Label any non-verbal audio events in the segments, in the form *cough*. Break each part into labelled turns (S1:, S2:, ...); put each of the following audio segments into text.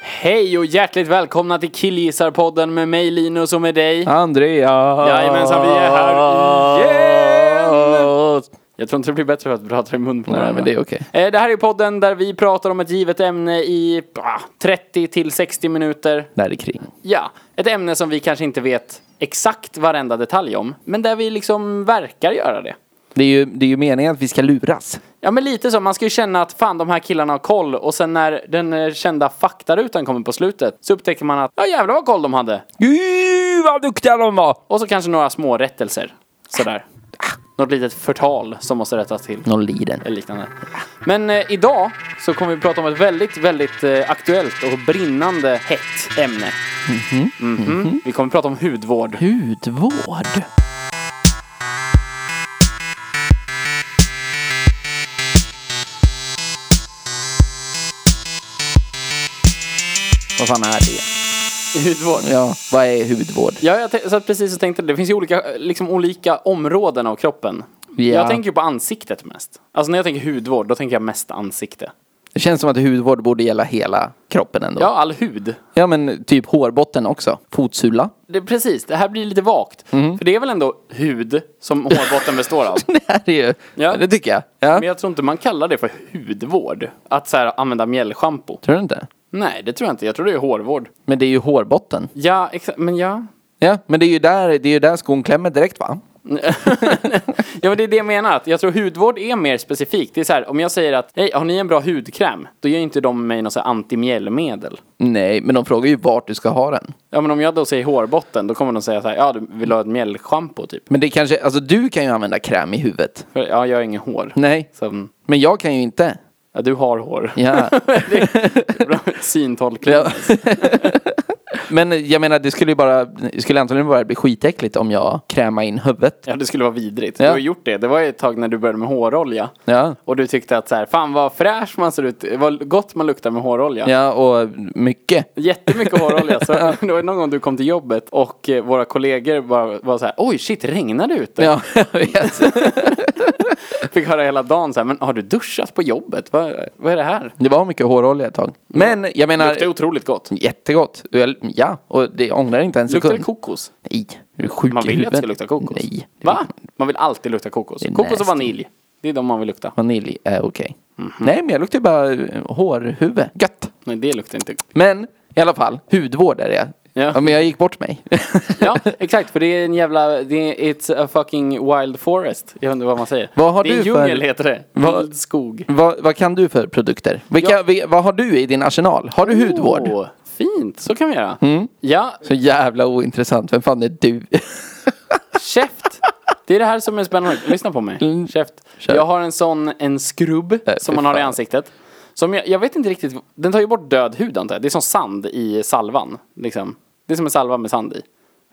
S1: Hej och hjärtligt välkomna till Killgissarpodden med mig Linus och med dig.
S2: Andreas!
S1: Jajamensan, vi är här igen! Jag tror inte det blir bättre för att prata i mun på
S2: Nej,
S1: varandra.
S2: men det är okej.
S1: Eh, Det här är podden där vi pratar om ett givet ämne i ah, 30 till 60 minuter.
S2: Där är kring.
S1: Ja, ett ämne som vi kanske inte vet exakt varenda detalj om, men där vi liksom verkar göra det.
S2: Det är, ju, det är ju meningen att vi ska luras.
S1: Ja men lite så, man ska ju känna att fan de här killarna har koll och sen när den eh, kända faktarutan kommer på slutet så upptäcker man att ja jävlar vad koll de hade.
S2: Gud vad duktiga de var!
S1: Och så kanske några små rättelser. Sådär. Något litet förtal som måste rättas till.
S2: Någon liden.
S1: Eller liknande. Men eh, idag så kommer vi prata om ett väldigt, väldigt eh, aktuellt och brinnande hett ämne. Mhm. Vi kommer prata om hudvård.
S2: Hudvård. Vad fan är det?
S1: hudvård.
S2: Ja, vad är hudvård?
S1: Ja, jag t- satt precis och tänkte det. finns ju olika, eh, liksom, olika områden av kroppen.
S2: Ja.
S1: Jag tänker ju på ansiktet mest. Alltså när jag tänker hudvård, då tänker jag mest ansikte.
S2: Det känns som att hudvård borde gälla hela kroppen ändå.
S1: Ja, all hud.
S2: Ja men typ hårbotten också. Fotsula. *laughs*
S1: Det, precis, det här blir lite vagt.
S2: Mm.
S1: För det är väl ändå hud som hårbotten består av?
S2: Det här är ju,
S1: Ja.
S2: det tycker jag. *laughs* Ja.
S1: Men jag tror inte man kallar det för hudvård. Att så här, använda mjällschampo.
S2: Tror du inte?
S1: Nej, det tror jag inte. Jag tror det är hårvård.
S2: Men det är ju hårbotten.
S1: Ja, exakt. Men ja.
S2: Ja, men det är ju där, det är ju där skon klämmer direkt va?
S1: ja, men det är det jag menar. Att jag tror hudvård är mer specifikt. Det är så här, om jag säger att hej, har ni en bra hudkräm? Då ger inte de mig något så här antimjällmedel.
S2: Nej, men de frågar ju vart du ska ha den.
S1: Ja, men om jag då säger hårbotten, då kommer de säga så här, ja, du vill ha ett mjällschampo typ.
S2: Men det kanske, alltså du kan ju använda kräm i huvudet.
S1: För, ja, jag har ingen hår.
S2: Nej,
S1: Så,
S2: men jag kan ju inte.
S1: ja, du har hår.
S2: Ja.
S1: Bra *laughs* Syntolkning.
S2: Ja. *laughs* men jag menar, det skulle ju bara, det skulle antagligen bara bli skitäckligt om jag krämar in huvudet.
S1: *laughs* Ja, det skulle vara vidrigt.
S2: Ja.
S1: Du har gjort det. Det var ju ett tag när du började med hårolja.
S2: Ja.
S1: Och du tyckte att så här, fan vad fräsch man ser ut, vad gott man luktar med hårolja.
S2: Ja, och mycket.
S1: Jättemycket hårolja.
S2: *laughs*
S1: Så det var någon gång du kom till jobbet och eh, våra kollegor bara var så här, oj shit, regnar det ute?
S2: Ja, *laughs* jag vet.
S1: Fick höra hela dagen så här, men har du duschat på jobbet? Vad, vad är det här?
S2: Det var mycket hårolja ett tag. Men jag menar...
S1: Luktar otroligt gott.
S2: Jättegott. Jag- Ja, och det ångrar inte en
S1: Luktar det
S2: sekund.
S1: kokos?
S2: Nej, du är sjuk
S1: Man
S2: i
S1: vill ju att det
S2: huvudet.
S1: ska lukta kokos.
S2: Nej.
S1: Va? Man vill alltid lukta kokos.
S2: är
S1: Kokos
S2: nasty.
S1: och vanilj. Det är de man vill lukta.
S2: Vanilj är okej.
S1: Mhm.
S2: Nej, men jag luktar ju bara eh, hårhuvud. Gött.
S1: Nej, det luktar inte.
S2: Men i alla fall, hudvård är det. Ja.
S1: Ja.
S2: men jag gick bort mig.
S1: *laughs* Ja, exakt. För det är en jävla, det är, it's a fucking wild forest. Jag undrar vad man säger.
S2: Vad har
S1: det är
S2: du
S1: en
S2: för-
S1: djungel heter det.
S2: Vad-
S1: Vild skog.
S2: *laughs* vad, vad kan du för produkter? Vilka,
S1: Ja.
S2: vi- vad har du i din arsenal? Har du hudvård? Mm.
S1: Åh, fint, så kan vi göra. Ja,
S2: Så jävla ointressant. Vem fan är du? *laughs*
S1: käft. Det är det här som är spännande. Lyssna på mig. Käft.
S2: Mm. Kör. Äh,
S1: Jag har en sån, en skrubb som
S2: fy
S1: man har i
S2: fan.
S1: ansiktet. Som jag, jag vet inte riktigt, den tar ju bort död hud antar jag. Det är som sand i salvan. Liksom. Det är som en salva med sand i.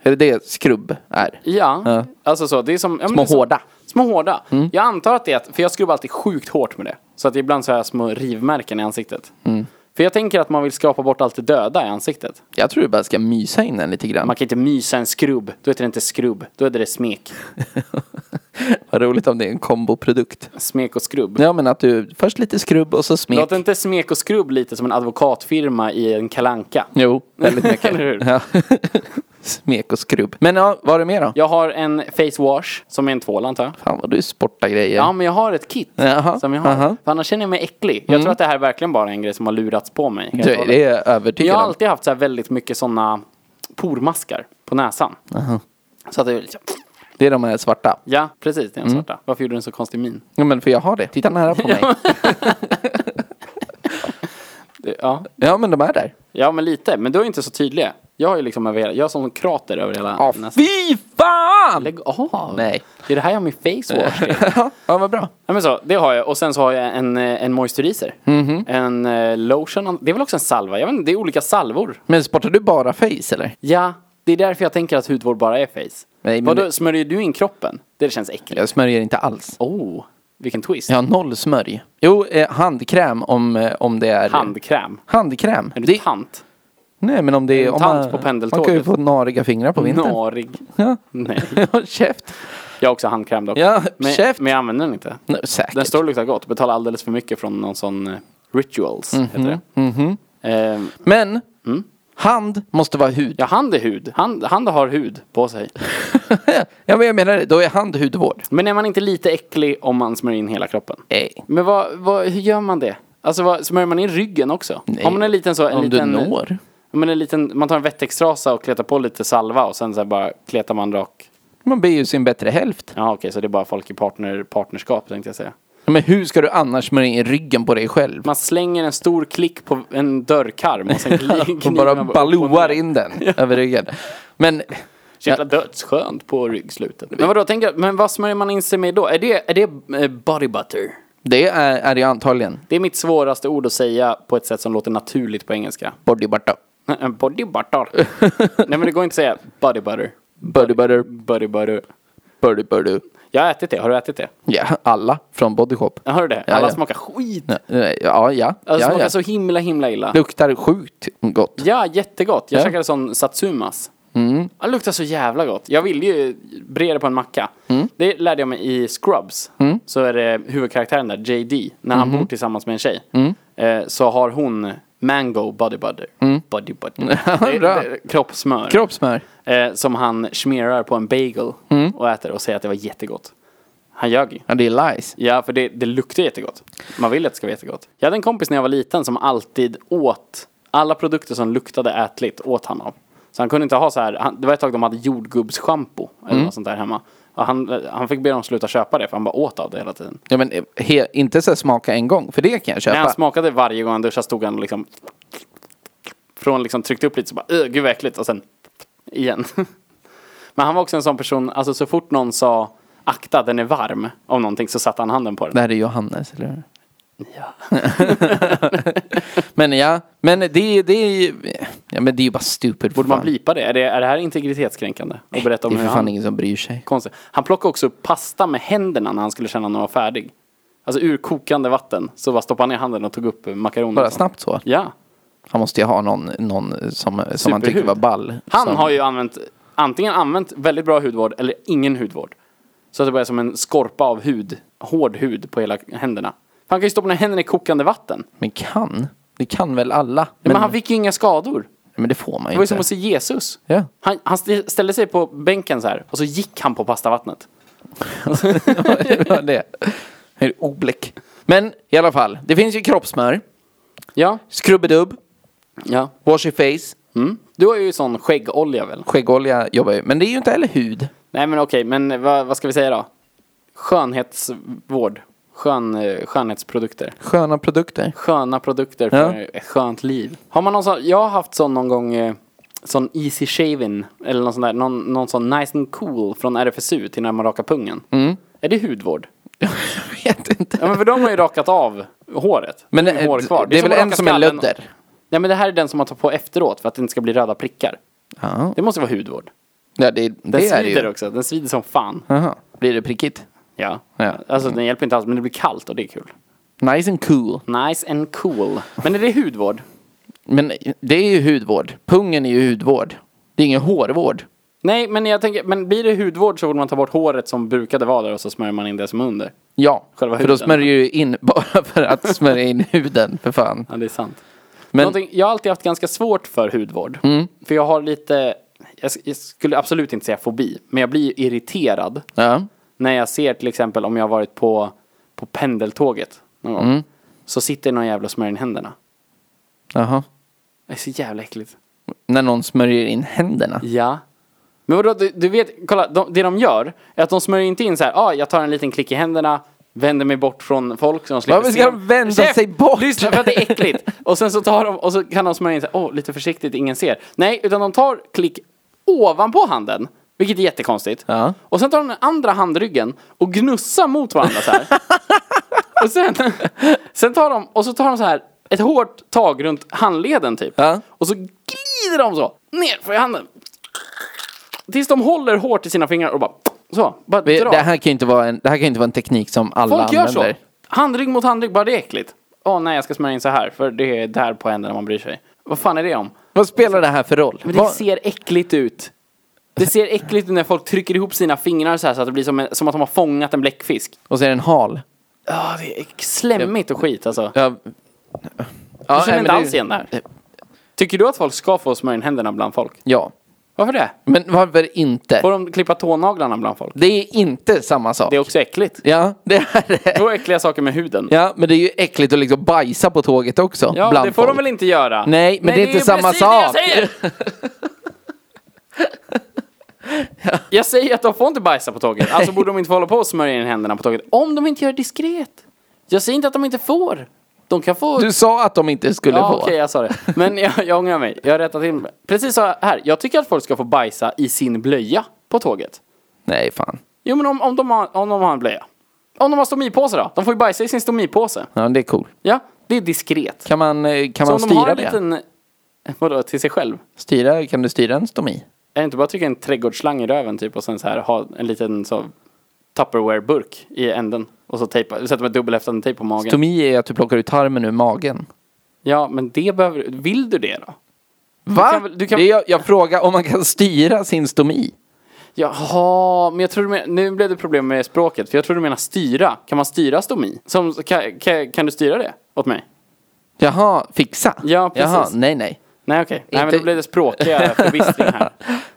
S2: är det det skrubb är?
S1: Ja,
S2: Ja.
S1: alltså så. Det är som... Ja, men
S2: Små
S1: det är som-
S2: hårda. Mm.
S1: Små hårda. Jag antar att det är, att- för jag skrubbar alltid sjukt hårt med det. Så att ibland så har jag små rivmärken i ansiktet.
S2: Mm.
S1: För jag tänker att man vill skrapa bort allt det döda i ansiktet.
S2: Jag tror du bara ska mysa in den lite grann.
S1: Man kan inte mysa en skrubb, då heter det inte skrubb, då heter det smek.
S2: Vad roligt om det är en komboprodukt.
S1: Smek och skrubb.
S2: Ja, men att du först lite skrubb och så smek.
S1: Låter inte smek och skrubb lite som en advokatfirma i en kalanka?
S2: Jo, väldigt
S1: *laughs*
S2: mycket.
S1: Eller hur?
S2: Ja. *laughs* Smek och skrubb. Men ja, vad har du mer då?
S1: Jag har en face wash, som är en tvål antar jag.
S2: Fan vad du sportar grejer.
S1: Ja, men jag har ett kit
S2: Jaha,
S1: som jag har.
S2: aha.
S1: För annars känner jag mig äcklig. Jag tror att det här är verkligen bara en grej som har lurats på mig.
S2: du, det är jag övertygad
S1: Jag har
S2: om.
S1: alltid haft så här väldigt mycket såna pormaskar på näsan. Så att det är lite så-
S2: Det är de här svarta.
S1: Ja, precis, det är en
S2: Mm.
S1: svarta. Varför gjorde du en så konstig min?
S2: Ja, men för jag har det. Titta nära på mig. *laughs*
S1: Det- Ja.
S2: ja, men de är där.
S1: ja, men lite. Men du är ju inte så tydlig. Jag har ju liksom över hela, jag har sån krater över hela
S2: Ja,
S1: näsan.
S2: fy fan!
S1: Lägg av!
S2: Nej.
S1: Det är det här jag har min face wash till.
S2: *laughs* ja, vad bra.
S1: Ja men så, det har jag. Och sen så har jag en, eh, en moisturizer.
S2: Mhm.
S1: En eh, lotion. Det är väl också en salva? Jag vet inte, det är olika salvor.
S2: Men sportar du bara face eller?
S1: Ja, det är därför jag tänker att hudvård bara är face.
S2: Nej, men
S1: Vadå,
S2: det-
S1: smörjer du in kroppen? Det känns äckligt.
S2: Jag smörjer inte alls.
S1: Oh, vilken twist.
S2: Jag har noll smörj. Jo, eh, handkräm om, eh, om det är...
S1: Handkräm.
S2: Handkräm.
S1: Är du
S2: Det,
S1: tant?
S2: nej, men om det är... Om
S1: tant
S2: man,
S1: på
S2: man
S1: pendeltåget.
S2: kan ju få nariga fingrar på vintern.
S1: Narig.
S2: Ja. *laughs*
S1: Nej.
S2: Ja, käft.
S1: Jag har också handkräm dock.
S2: Ja,
S1: men,
S2: käft.
S1: men jag använder den inte.
S2: Nej, säkert.
S1: Den står och luktar gott. Betalar alldeles för mycket från någon sån eh, rituals,
S2: Mhm,
S1: heter det. Ehm,
S2: Men, hand måste vara hud. *laughs*
S1: ja, hand är hud. Hand, hand har hud på sig.
S2: ja, men jag menar det. Då är hand hudvård.
S1: Men är man inte lite äcklig om man smörjer in hela kroppen?
S2: Nej.
S1: Men vad, vad, hur gör man det? Alltså vad, smörjer man in ryggen också?
S2: Nej.
S1: Har man en liten så, en
S2: Om
S1: liten,
S2: du når.
S1: Ja, Men en liten, man tar en vettextrasa och kletar på lite salva och sen så här bara kletar man rak.
S2: Man blir ju sin bättre hälft.
S1: Ja okej, så det är bara folk i partner, partnerskap tänkte jag säga.
S2: Men hur ska du annars smörja in ryggen på dig själv?
S1: Man slänger en stor klick på en dörrkarm
S2: *laughs*
S1: och sen
S2: Och
S1: gnider
S2: bara
S1: man upp och ner.
S2: balloar in den över ryggen. Men
S1: Så Jävla dödsskönt på ryggslutet. Men vadå, tänker, jag- men vad smörjer man in sig med då? Är det, är det eh, body butter?
S2: det är, är det antagligen.
S1: Det är mitt svåraste ord att säga på ett sätt som låter naturligt på engelska. Eh,
S2: Body butter. *laughs*
S1: Body butter. Nej men det går inte att säga body butter.
S2: Body butter.
S1: Body butter.
S2: Body butter.
S1: Jag har ätit det, har du ätit det?
S2: Ja, alla från Body Shop.
S1: Har du det?
S2: Ja,
S1: Alla
S2: ja.
S1: smakar skit.
S2: Ja, ja. ja,
S1: Alltså
S2: ja,
S1: smakar
S2: ja.
S1: så himla himla illa.
S2: Luktar sjukt gott.
S1: Ja, jättegott. Jag
S2: Ja.
S1: käkade sån satsumas. Mm. Det luktar så jävla gott. Jag ville ju bre det på en macka.
S2: Mm.
S1: Det lärde jag mig i Scrubs. Så är det huvudkaraktären där, JD, när
S2: Mm.
S1: han bor tillsammans med en tjej. Eh, så har hon mango body butter. Body
S2: *laughs*
S1: butter. det,
S2: Mm. bra.
S1: det, kroppssmör.
S2: Kroppsmör.
S1: eh, som han smerar på en bagel
S2: Mm.
S1: och äter och säger att det var jättegott. Han ljög ju.
S2: Ja, det är lies.
S1: Ja, för det, det luktar jättegott. Man vill att det ska vara jättegott. Jag hade en kompis när jag var liten som alltid åt alla produkter som luktade ätligt åt han av. Så han kunde inte ha så här, han, det var ett tag de hade jordgubbsschampo eller något sånt där hemma. Och han, han fick be dem sluta köpa det för han bara åt av det hela tiden.
S2: Ja, men eh, he, inte så här smaka en gång, för det kan jag
S1: När han
S2: köpa.
S1: smakade varje gång han duschade stod han och liksom från liksom tryckte upp lite så bara "Öh, gud vad äckligt och sen igen. *laughs* Men han var också en sån person, alltså så fort någon sa akta den är varm om någonting så satte han handen på den.
S2: Det här är Johannes, eller hur? Ja. *laughs* men ja, men det, det, är ju- ja, men det är ju bara stupid.
S1: Borde man blipa det? Är, det? är det här integritetskränkande? Och berätta
S2: Det
S1: om
S2: är
S1: hur
S2: för fan
S1: han...
S2: ingen som bryr sig.
S1: Konstigt. Han plockade också upp pasta med händerna när han skulle känna när han var färdig. Alltså ur kokande vatten. Så bara stoppade han ner handen och tog upp eh, makaroner.
S2: Bara
S1: och sånt.
S2: snabbt så.
S1: Ja.
S2: Han måste ju ha någon, någon som, som han tycker
S1: Superhud.
S2: var ball.
S1: Han
S2: som,
S1: har ju använt, antingen använt väldigt bra hudvård eller ingen hudvård. Så att det bara är som en skorpa av hud. Hård hud på hela händerna. Han kan ju stoppa ner händerna i kokande vatten. Men,
S2: Men kan? Det kan väl alla? Men,
S1: men han fick ju inga skador.
S2: men det får man
S1: Det
S2: ju
S1: var ju
S2: inte.
S1: som att se Jesus.
S2: Ja.
S1: Han, han st- ställde sig på bänken så här och så gick han på pastavattnet.
S2: *laughs* det var det. Det är oblek. Men i alla fall, det finns ju kroppsmör,
S1: Ja,
S2: skrubbedubb,
S1: ja.
S2: wash your face,
S1: Mm. Du har ju sån skäggolja väl?
S2: skäggolja jobbar ju. Men det är ju inte heller hud.
S1: Nej men okej, men vad, vad ska vi säga då? Skönhetsvård. Skön, eh, skönhetsprodukter.
S2: Sköna produkter. *laughs*
S1: Sköna produkter för ett skönt liv. Har man någon sån, jag har haft sån någon gång, eh, sån easy shaving eller någon sån där, någon, någon sån nice and cool från RFSU till när man rakar pungen.
S2: Mm.
S1: Är det hudvård?
S2: Jag vet inte.
S1: Ja men för de har ju rakat av håret.
S2: *laughs* Men
S1: Det är ju
S2: eh,
S1: hår kvar.
S2: det är väl
S1: att
S2: en
S1: raka
S2: som är
S1: skallen.
S2: lödder?
S1: Nej men det här är den som man tar på efteråt för att det inte ska bli röda prickar.
S2: Ja,
S1: Det måste vara hudvård.
S2: ja det,
S1: Den
S2: det är det
S1: svider
S2: ju.
S1: också, den svider som fan.
S2: Aha. Blir det prickigt?
S1: Ja.
S2: Ja.
S1: Alltså den hjälper inte alls, men det blir kallt och det är kul.
S2: Nice and cool.
S1: Nice and cool. Men är det hudvård?
S2: Men det är ju hudvård. Pungen är ju hudvård. Det är ingen hårvård.
S1: Nej, men jag tänker, men blir det hudvård så borde man ta bort håret som brukade vara där och så smörjer man in det som är under.
S2: Ja,
S1: Själva
S2: för då
S1: huden.
S2: smörjer du in *laughs* bara för att smörja in huden, för fan.
S1: Ja, det är sant.
S2: Men Mm.
S1: Någonting, jag har alltid haft ganska svårt för hudvård. För jag har lite, jag, s- jag skulle absolut inte säga fobi, men jag blir ju irriterad
S2: ja,
S1: när jag ser till exempel om jag har varit på, på pendeltåget någon gång.
S2: Mm.
S1: Så sitter någon jävla och smörjer in händerna.
S2: jaha.
S1: Det är så jävla äckligt.
S2: När någon smörjer in händerna.
S1: Ja. Men vadå, du, du vet, kolla, de, det de gör är att de smörjer inte in så här, ah, jag tar en liten klick i händerna, Vänder mig bort från folk som slipper
S2: Varför ska de vända sig bort?
S1: Lyssna för
S2: *laughs*
S1: att det är äckligt. Och sen så tar de, och så kan de smörja in sig, åh, lite försiktigt, ingen ser. Nej, utan de tar klick ovanpå handen. Vilket är jättekonstigt.
S2: Ja.
S1: Och sen tar de den andra handryggen och gnussar mot varandra
S2: *laughs*
S1: så här. och sen, sen tar de, och så tar de så här ett hårt tag runt handleden typ.
S2: Ja.
S1: Och så glider de så ner för handen. Tills de håller hårt i sina fingrar och bara så. Bara
S2: Vi-
S1: drar.
S2: Det här kan ju inte vara en, det här kan ju inte vara en teknik som alla
S1: Folk gör så.
S2: använder.
S1: Handrygg mot handrygg, bara det är äckligt. Åh nej, jag ska smörja in så här för det är där på händerna man bryr sig. Vad fan är det om?
S2: Vad spelar det här för roll?
S1: Men det
S2: Vad-
S1: ser äckligt ut. Det ser äckligt ut när folk trycker ihop sina fingrar så här så att det blir som, en, som att de har fångat en bläckfisk.
S2: Och så är det en hal.
S1: Ja, det är slemmigt och skit alltså.
S2: Ja.
S1: Jag
S2: Ja,
S1: känner
S2: nej,
S1: inte
S2: men
S1: alls
S2: det-
S1: igen det här. Tycker du att folk ska få smörja in händerna bland folk?
S2: Ja.
S1: Varför det?
S2: Men varför inte?
S1: Får de klippa tånaglarna bland folk?
S2: Det är inte samma sak.
S1: Det är också äckligt.
S2: Ja, det är det.
S1: Två äckliga saker med huden.
S2: Ja, men det är ju äckligt att liksom bajsa på tåget också.
S1: Ja,
S2: bland
S1: det får
S2: folk.
S1: de väl inte göra?
S2: Nej, men det är
S1: ju
S2: inte samma
S1: precis det
S2: sak.
S1: Jag säger.
S2: *laughs*
S1: jag säger att de får inte bajsa på tåget. Alltså borde de inte få hålla på och smörja in händerna på tåget. Om de inte gör det diskret. Jag säger inte att de inte får. De kan få...
S2: Du sa att de inte skulle
S1: ja,
S2: få.
S1: okej, jag sa det. Men jag, jag ångrar mig. Jag rättar till mig. Precis så här. Jag tycker att folk ska få bajsa i sin blöja på tåget.
S2: Nej, fan.
S1: Jo, men om, om, de, har, om de har en blöja. Om de har stomipåse då? De får ju bajsa i sin stomipåse.
S2: Ja, det är cool.
S1: Ja, det är diskret.
S2: Kan man, eh, kan
S1: Så
S2: man
S1: om de har
S2: styra
S1: en
S2: det?
S1: liten... eh, Vadå, till sig själv?
S2: Styra, kan du styra en stomi?
S1: Är det inte bara att trycka en trädgårdsslang i röven typ och sen så här ha en liten så Tupperware-burk i änden och så tejpa, sätta med dubbelhäftande tejp på magen.
S2: Stomi är att du plockar ut tarmen ur magen.
S1: Ja, men det behöver du. Vill du det då?
S2: Va?
S1: kan väl- du kan-
S2: Det är, jag, jag frågar om man kan styra sin stomi.
S1: Jaha, men jag tror du men, nu blev det problem med språket för jag tror du menar styra. Kan man styra stomi? Som, kan, kan, kan du styra det åt mig?
S2: Jaha, fixa?
S1: Ja, precis.
S2: Jaha, nej, nej.
S1: Nej, okej. Nej, men
S2: Inte-
S1: då blev
S2: *laughs*
S1: det språkliga förvissning här.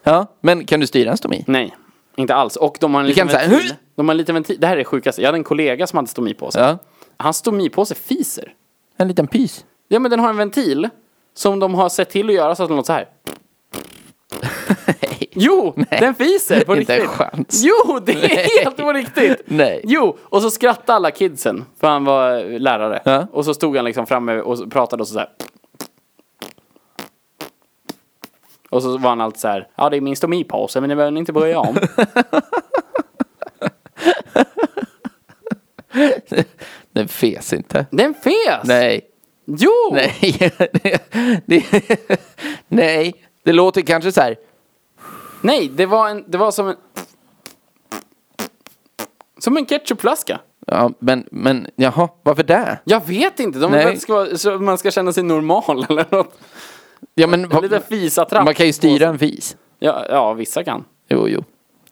S2: Ja, men kan du styra en stomi?
S1: Nej, inte alls. Och de har en liten
S2: kan säga,
S1: ventil.
S2: "Hu!"
S1: De har en liten ventil. Det här är det sjukaste. Jag hade en kollega som hade stomipåse.
S2: Ja.
S1: Hans stomipåse fiser.
S2: En liten pys.
S1: Ja men den har en ventil som de har sett till att göra så att den låter så här. Jo, den fiser på
S2: inte en
S1: riktigt.
S2: chans.
S1: Jo, det är helt på riktigt.
S2: Nej.
S1: Jo, och så skrattade alla kidsen för han var eh, lärare.
S2: Ja.
S1: Och så stod han liksom framme och så pratade och så, så här. Och så var han alltid så här, ja det är min stomipåse men det behöver ni inte
S2: *laughs*
S1: börja om.
S2: Den fes inte.
S1: Den fes!
S2: Nej.
S1: Jo!
S2: Nej. *laughs* det, *laughs* nej. Det låter kanske så här.
S1: Nej, det var, en, det var som en... Som en ketchupflaska.
S2: Ja, men, men jaha, varför det?
S1: Jag vet inte, de
S2: Nej.
S1: vill att det ska vara, så man ska känna sig normal *laughs* eller något.
S2: Ja, men,
S1: En liten fisatrapp.
S2: man kan ju styra en fis.
S1: Ja, ja, vissa kan.
S2: Jo, jo.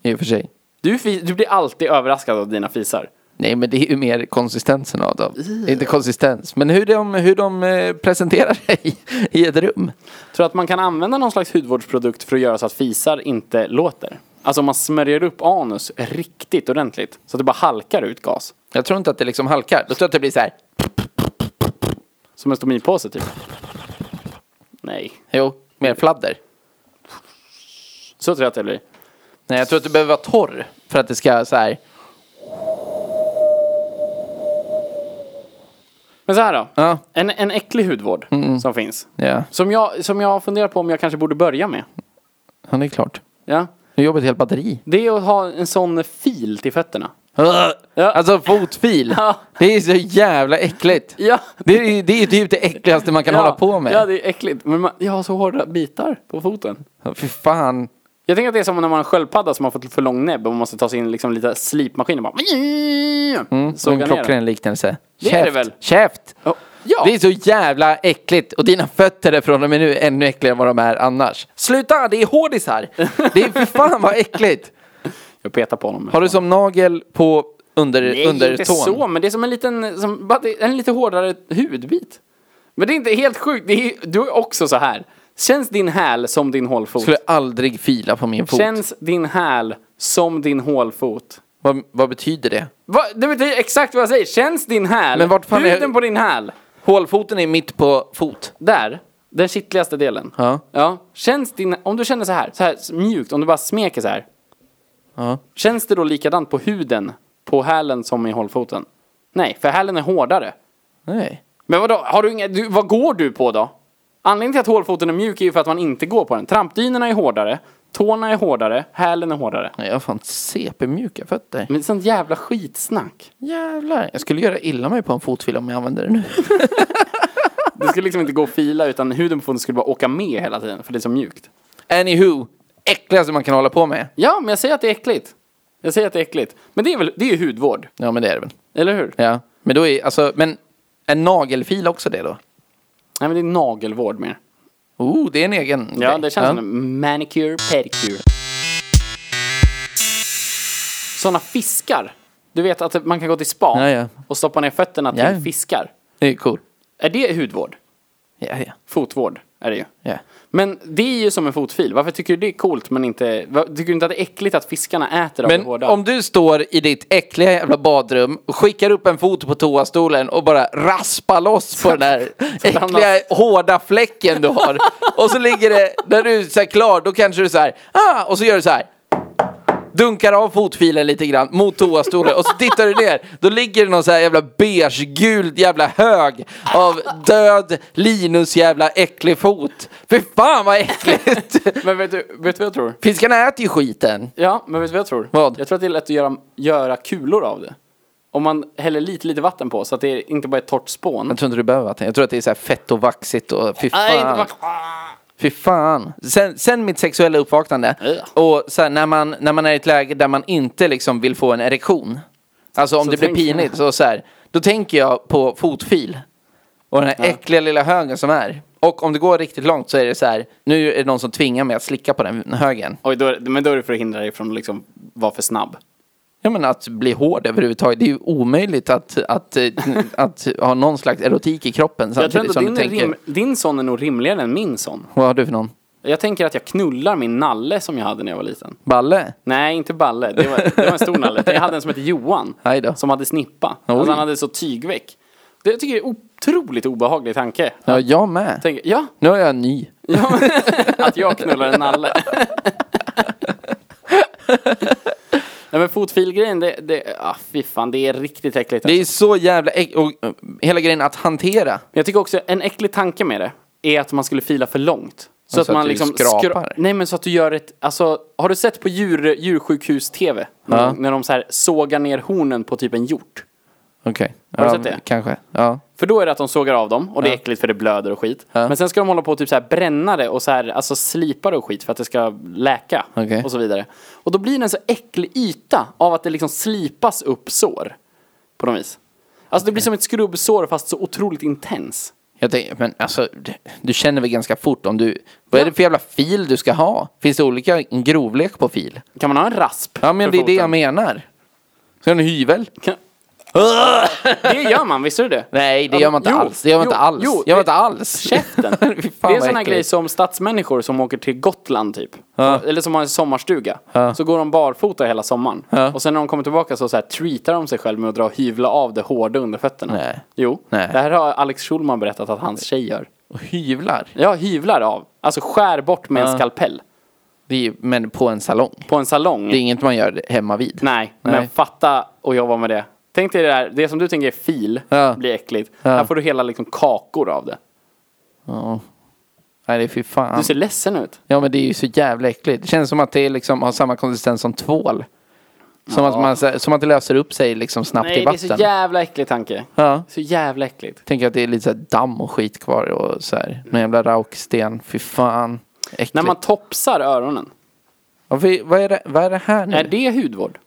S2: I och för sig.
S1: Du, fi- du blir alltid överraskad av dina fisar.
S2: Nej, men det är ju mer konsistensen av dem. Inte konsistens, men hur de, hur de eh, presenterar *laughs* sig i ett rum.
S1: Tror du att man kan använda någon slags hudvårdsprodukt för att göra så att fisar inte låter? Alltså om man smörjer upp anus riktigt ordentligt så att det bara halkar ut gas.
S2: Jag tror inte att det liksom halkar. Jag tror att det blir så här.
S1: Som en stomipåse typ. Nej,
S2: Jo, mer fladder.
S1: så tror jag att det blir.
S2: Nej, jag tror att du behöver vara torr för att det ska så här.
S1: Men så här då.
S2: Ja.
S1: En, en äcklig hudvård som finns.
S2: Ja,
S1: Som jag, som jag funderar på om jag kanske borde börja med.
S2: ja det är klart.
S1: Ja.
S2: Nu jobbar ett helt batteri.
S1: Det är att ha en sån fil till fötterna. Ja.
S2: Alltså fotfil.
S1: Ja.
S2: Det är så jävla äckligt.
S1: Ja.
S2: Det är, det är typ det äckligaste man kan hålla på med.
S1: Ja, det är äckligt. Men man, jag har så hårda bitar på foten.
S2: Fy fan.
S1: Jag tänker att det är som när man har en sköldpadda som har fått för lång näbb och man måste ta sig in liksom lite slipmaskin och bara... Mm,
S2: Så en klockren liknelse.
S1: Det är det väl.
S2: Käft.
S1: Ja,
S2: Det är så jävla äckligt. Och dina fötter är från och med nu ännu äckligare än vad de är annars. Sluta, det är
S1: *laughs*
S2: hårdisar. Det är för fan vad äckligt.
S1: jag petar på honom.
S2: Har du som nagel på under,
S1: Nej,
S2: under
S1: inte
S2: tån?
S1: så, men det är som en liten, som, bara det- en lite hårdare hudbit. Men det är inte helt sjukt. Det är, du är också så här. Känns din häl som din hålfot?
S2: Skulle aldrig fila på min fot.
S1: Känns din häl som din hålfot?
S2: Vad, vad betyder det?
S1: Va? Det betyder exakt vad jag säger. Känns din häl?
S2: Men vart fan är-
S1: Huden på din häl?
S2: Hålfoten är mitt på fot.
S1: Där, den kittligaste delen.
S2: Ja.
S1: Känns din, om du känner så här, så här mjukt, om du bara smeker så här.
S2: Ja.
S1: Känns det då likadant på huden, på hälen som i hållfoten? Nej, för hälen är hårdare.
S2: Nej.
S1: Men vadå, har du inga, du, vad går du på då? Anledningen till att hålfoten är mjuk är ju för att man inte går på den. Trampdynorna är hårdare, tårna är hårdare, hälen är hårdare.
S2: Nej, jag har fan CP-mjuka fötter.
S1: Men det är sånt jävla skitsnack.
S2: Jävlar. Jag skulle göra illa mig på en fotfil om jag använder det nu. *laughs*
S1: Det skulle liksom inte gå att fila utan huden på foten skulle bara åka med hela tiden för det är så mjukt.
S2: Anywho. Äckligaste man kan hålla på med.
S1: Ja, men jag säger att det är äckligt. Jag säger att det är äckligt. Men det är väl, det är ju hudvård.
S2: Ja, men det är det väl.
S1: Eller hur?
S2: Ja. Men då är, alltså, men en nagelfil också det då?
S1: Nej, men det är nagelvård mer.
S2: Oh, det är en egen
S1: Ja,
S2: grej.
S1: det känns som en manicure, pedicure. Såna fiskar. Du vet att man kan gå till spa
S2: Ja, ja.
S1: och stoppa ner fötterna till
S2: Ja.
S1: fiskar.
S2: Det är cool.
S1: Är det hudvård?
S2: Ja, ja.
S1: Fotvård är det ju.
S2: ja.
S1: Men det är ju som en fotfil. Varför tycker du det är coolt men inte... va- Tycker du inte att det är äckligt att fiskarna äter av det
S2: Men
S1: hårda?
S2: om du står i ditt äckliga jävla badrum och skickar upp en fot på toastolen och bara raspar loss på den
S1: *laughs*
S2: här äckliga hårda fläcken du har. Och så ligger det, när du är så här klar, då kanske du så här, ah, och så gör du så här. Dunkar av fotfilen lite grann mot toastolen och så tittar du ner. Då ligger det någon så här jävla beigegul jävla hög av död Linus jävla äcklig fot. Fy fan vad äckligt!
S1: *laughs* Men vet du, vet du vad jag tror?
S2: Fiskarna äter ju skiten.
S1: Ja, men vet du vad jag tror?
S2: Vad?
S1: Jag tror att det är lätt att göra, göra kulor av det. Om man häller lite, lite vatten på så att det inte bara är ett torrt spån.
S2: Jag tror inte du behöver vatten. Jag tror att det är så här fett och vaxigt och fy
S1: Nej, inte
S2: fan.
S1: bara-
S2: Fy fan. Sen, sen mitt sexuella uppvaknande.
S1: Ja.
S2: Och så här, när, man, när man är i ett läge där man inte liksom vill få en erektion. Alltså om
S1: Så
S2: det blir
S1: tänker jag.
S2: pinigt. Så, så här, då tänker jag på fotfil. Och den här äckliga lilla högen som är. Och om det går riktigt långt så är det så här. Nu är det någon som tvingar mig att slicka på den högen.
S1: Oj, då är, det- men då är det för att hindra dig från att liksom vara för snabb.
S2: Ja men att bli hård överhuvudtaget. Det är ju omöjligt att, att, eh, att, ha någon slags erotik i kroppen.
S1: Jag tror
S2: Samtidigt
S1: ändå
S2: som du
S1: din, är
S2: tänker.
S1: rim, din son är nog rimligare än min son.
S2: Vad har du för någon?
S1: Jag tänker att jag knullar min nalle som jag hade när jag var liten.
S2: Balle?
S1: Nej, inte Balle. Det var, det var en stor nalle. Jag hade en som hette Johan.
S2: Aj då.
S1: Som hade snippa. Alltså, han hade så tygväck. Det jag tycker jag är otroligt obehaglig tanke.
S2: Ja, jag med.
S1: Tänk, ja,
S2: Nu har jag en ny.
S1: att jag knullar
S2: *laughs*
S1: en nalle. Nej men fotfilgrejen, det, det, ah, fy fan, det är riktigt äckligt.
S2: Det är så jävla äck- och eh, hela grejen att hantera.
S1: Men jag tycker också en äcklig tanke med det är att man skulle fila för långt. Så,
S2: Ja,
S1: att,
S2: så Alltså att
S1: man
S2: du
S1: liksom
S2: skrapar.
S1: Nej men så att du gör ett, alltså har du sett på djur, djursjukhus-tv? När, de- när de så här sågar ner hornen på typ en hjort.
S2: Okej.
S1: du
S2: ja,
S1: sett det?
S2: Kanske. Ja.
S1: För då är det att de sågar av dem och det är äckligt för det blöder och skit. Men sen ska de hålla på och typ så här bränna det och så här, alltså slipa det och skit för att det ska läka
S2: Okej.
S1: och så vidare. Och då blir det en så äcklig yta av att det liksom slipas upp sår. På något vis. Alltså det blir som ett skrubbsår fast så otroligt intens.
S2: Jag tänker, men alltså, d- du känner väl ganska fort om du... Vad är det för jävla fil du ska ha? Finns det olika grovlek på fil?
S1: Kan man ha en rasp?
S2: Ja, men
S1: för
S2: det är det
S1: foten?
S2: jag menar. Ska du ha en hyvel?
S1: Kan- *laughs* Det gör man, visste du det?
S2: Nej, det
S1: Ja,
S2: gör man inte
S1: jo,
S2: alls. Det gör man
S1: jo,
S2: inte alls.
S1: jo,
S2: det gör man
S1: det-
S2: inte alls.
S1: Käften.
S2: *laughs* Fy
S1: det
S2: fan,
S1: är
S2: vad
S1: en sån här
S2: äckligt.
S1: grej som stadsmänniskor som åker till Gotland typ.
S2: Ja.
S1: Eller som har en sommarstuga. Så går de barfota hela sommaren. Och sen när de kommer tillbaka så, så här, treatar de sig själva med att dra och hyvla av det hårda under fötterna.
S2: Nej.
S1: Jo,
S2: Nej.
S1: det här har Alex Schulman berättat att hans tjej gör.
S2: Och hyvlar.
S1: Ja, hyvlar av. Alltså skär bort med en skalpell.
S2: Det är, ju- men på en salong.
S1: På en salong.
S2: Det är inget man gör hemma vid.
S1: Nej, men
S2: Nej.
S1: fatta och jobba med det. Tänk dig det där, det som du tänker är fil,
S2: Ja.
S1: blir äckligt.
S2: Ja.
S1: Här får du hela liksom kakor av det.
S2: Ja. Nej, det är fy fan.
S1: Du ser ledsen ut.
S2: Ja men det är ju så jävla äckligt. Det känns som att det liksom har samma konsistens som tvål. Som, att, man, så- som att det löser upp sig liksom snabbt
S1: Nej,
S2: i
S1: det är så
S2: vatten.
S1: jävla äcklig tanke.
S2: Ja.
S1: Så jävla äckligt.
S2: Tänker att det är lite så här damm och skit kvar och så här. Någon jävla rauksten. Fy fan. Äckligt.
S1: När man topsar öronen.
S2: Varför, vad, är det, vad är det här nu?
S1: Är det hudvård?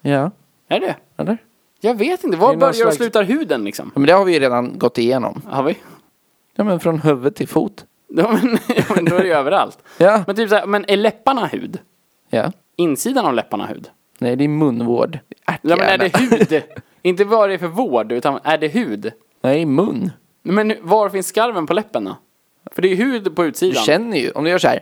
S2: Ja.
S1: Är det?
S2: Eller?
S1: Jag vet inte. Var
S2: någon
S1: börjar och
S2: slags-
S1: slutar huden liksom?
S2: Ja, men det har vi ju redan gått igenom.
S1: Har vi?
S2: Ja men från huvud till fot.
S1: Ja, men, *laughs* ja, men då är det ju överallt.
S2: Ja.
S1: Men typ så här, men är läpparna hud?
S2: Ja.
S1: Insidan av läpparna hud?
S2: Nej det är munvård.
S1: Ja, men är
S2: Ärthjärna.
S1: det hud? inte vad det är för vård, utan är det hud?
S2: Nej mun.
S1: Men var finns skarven på läppen då? För det är hud på
S2: Du
S1: utsidan.
S2: känner ju. Om du gör så här.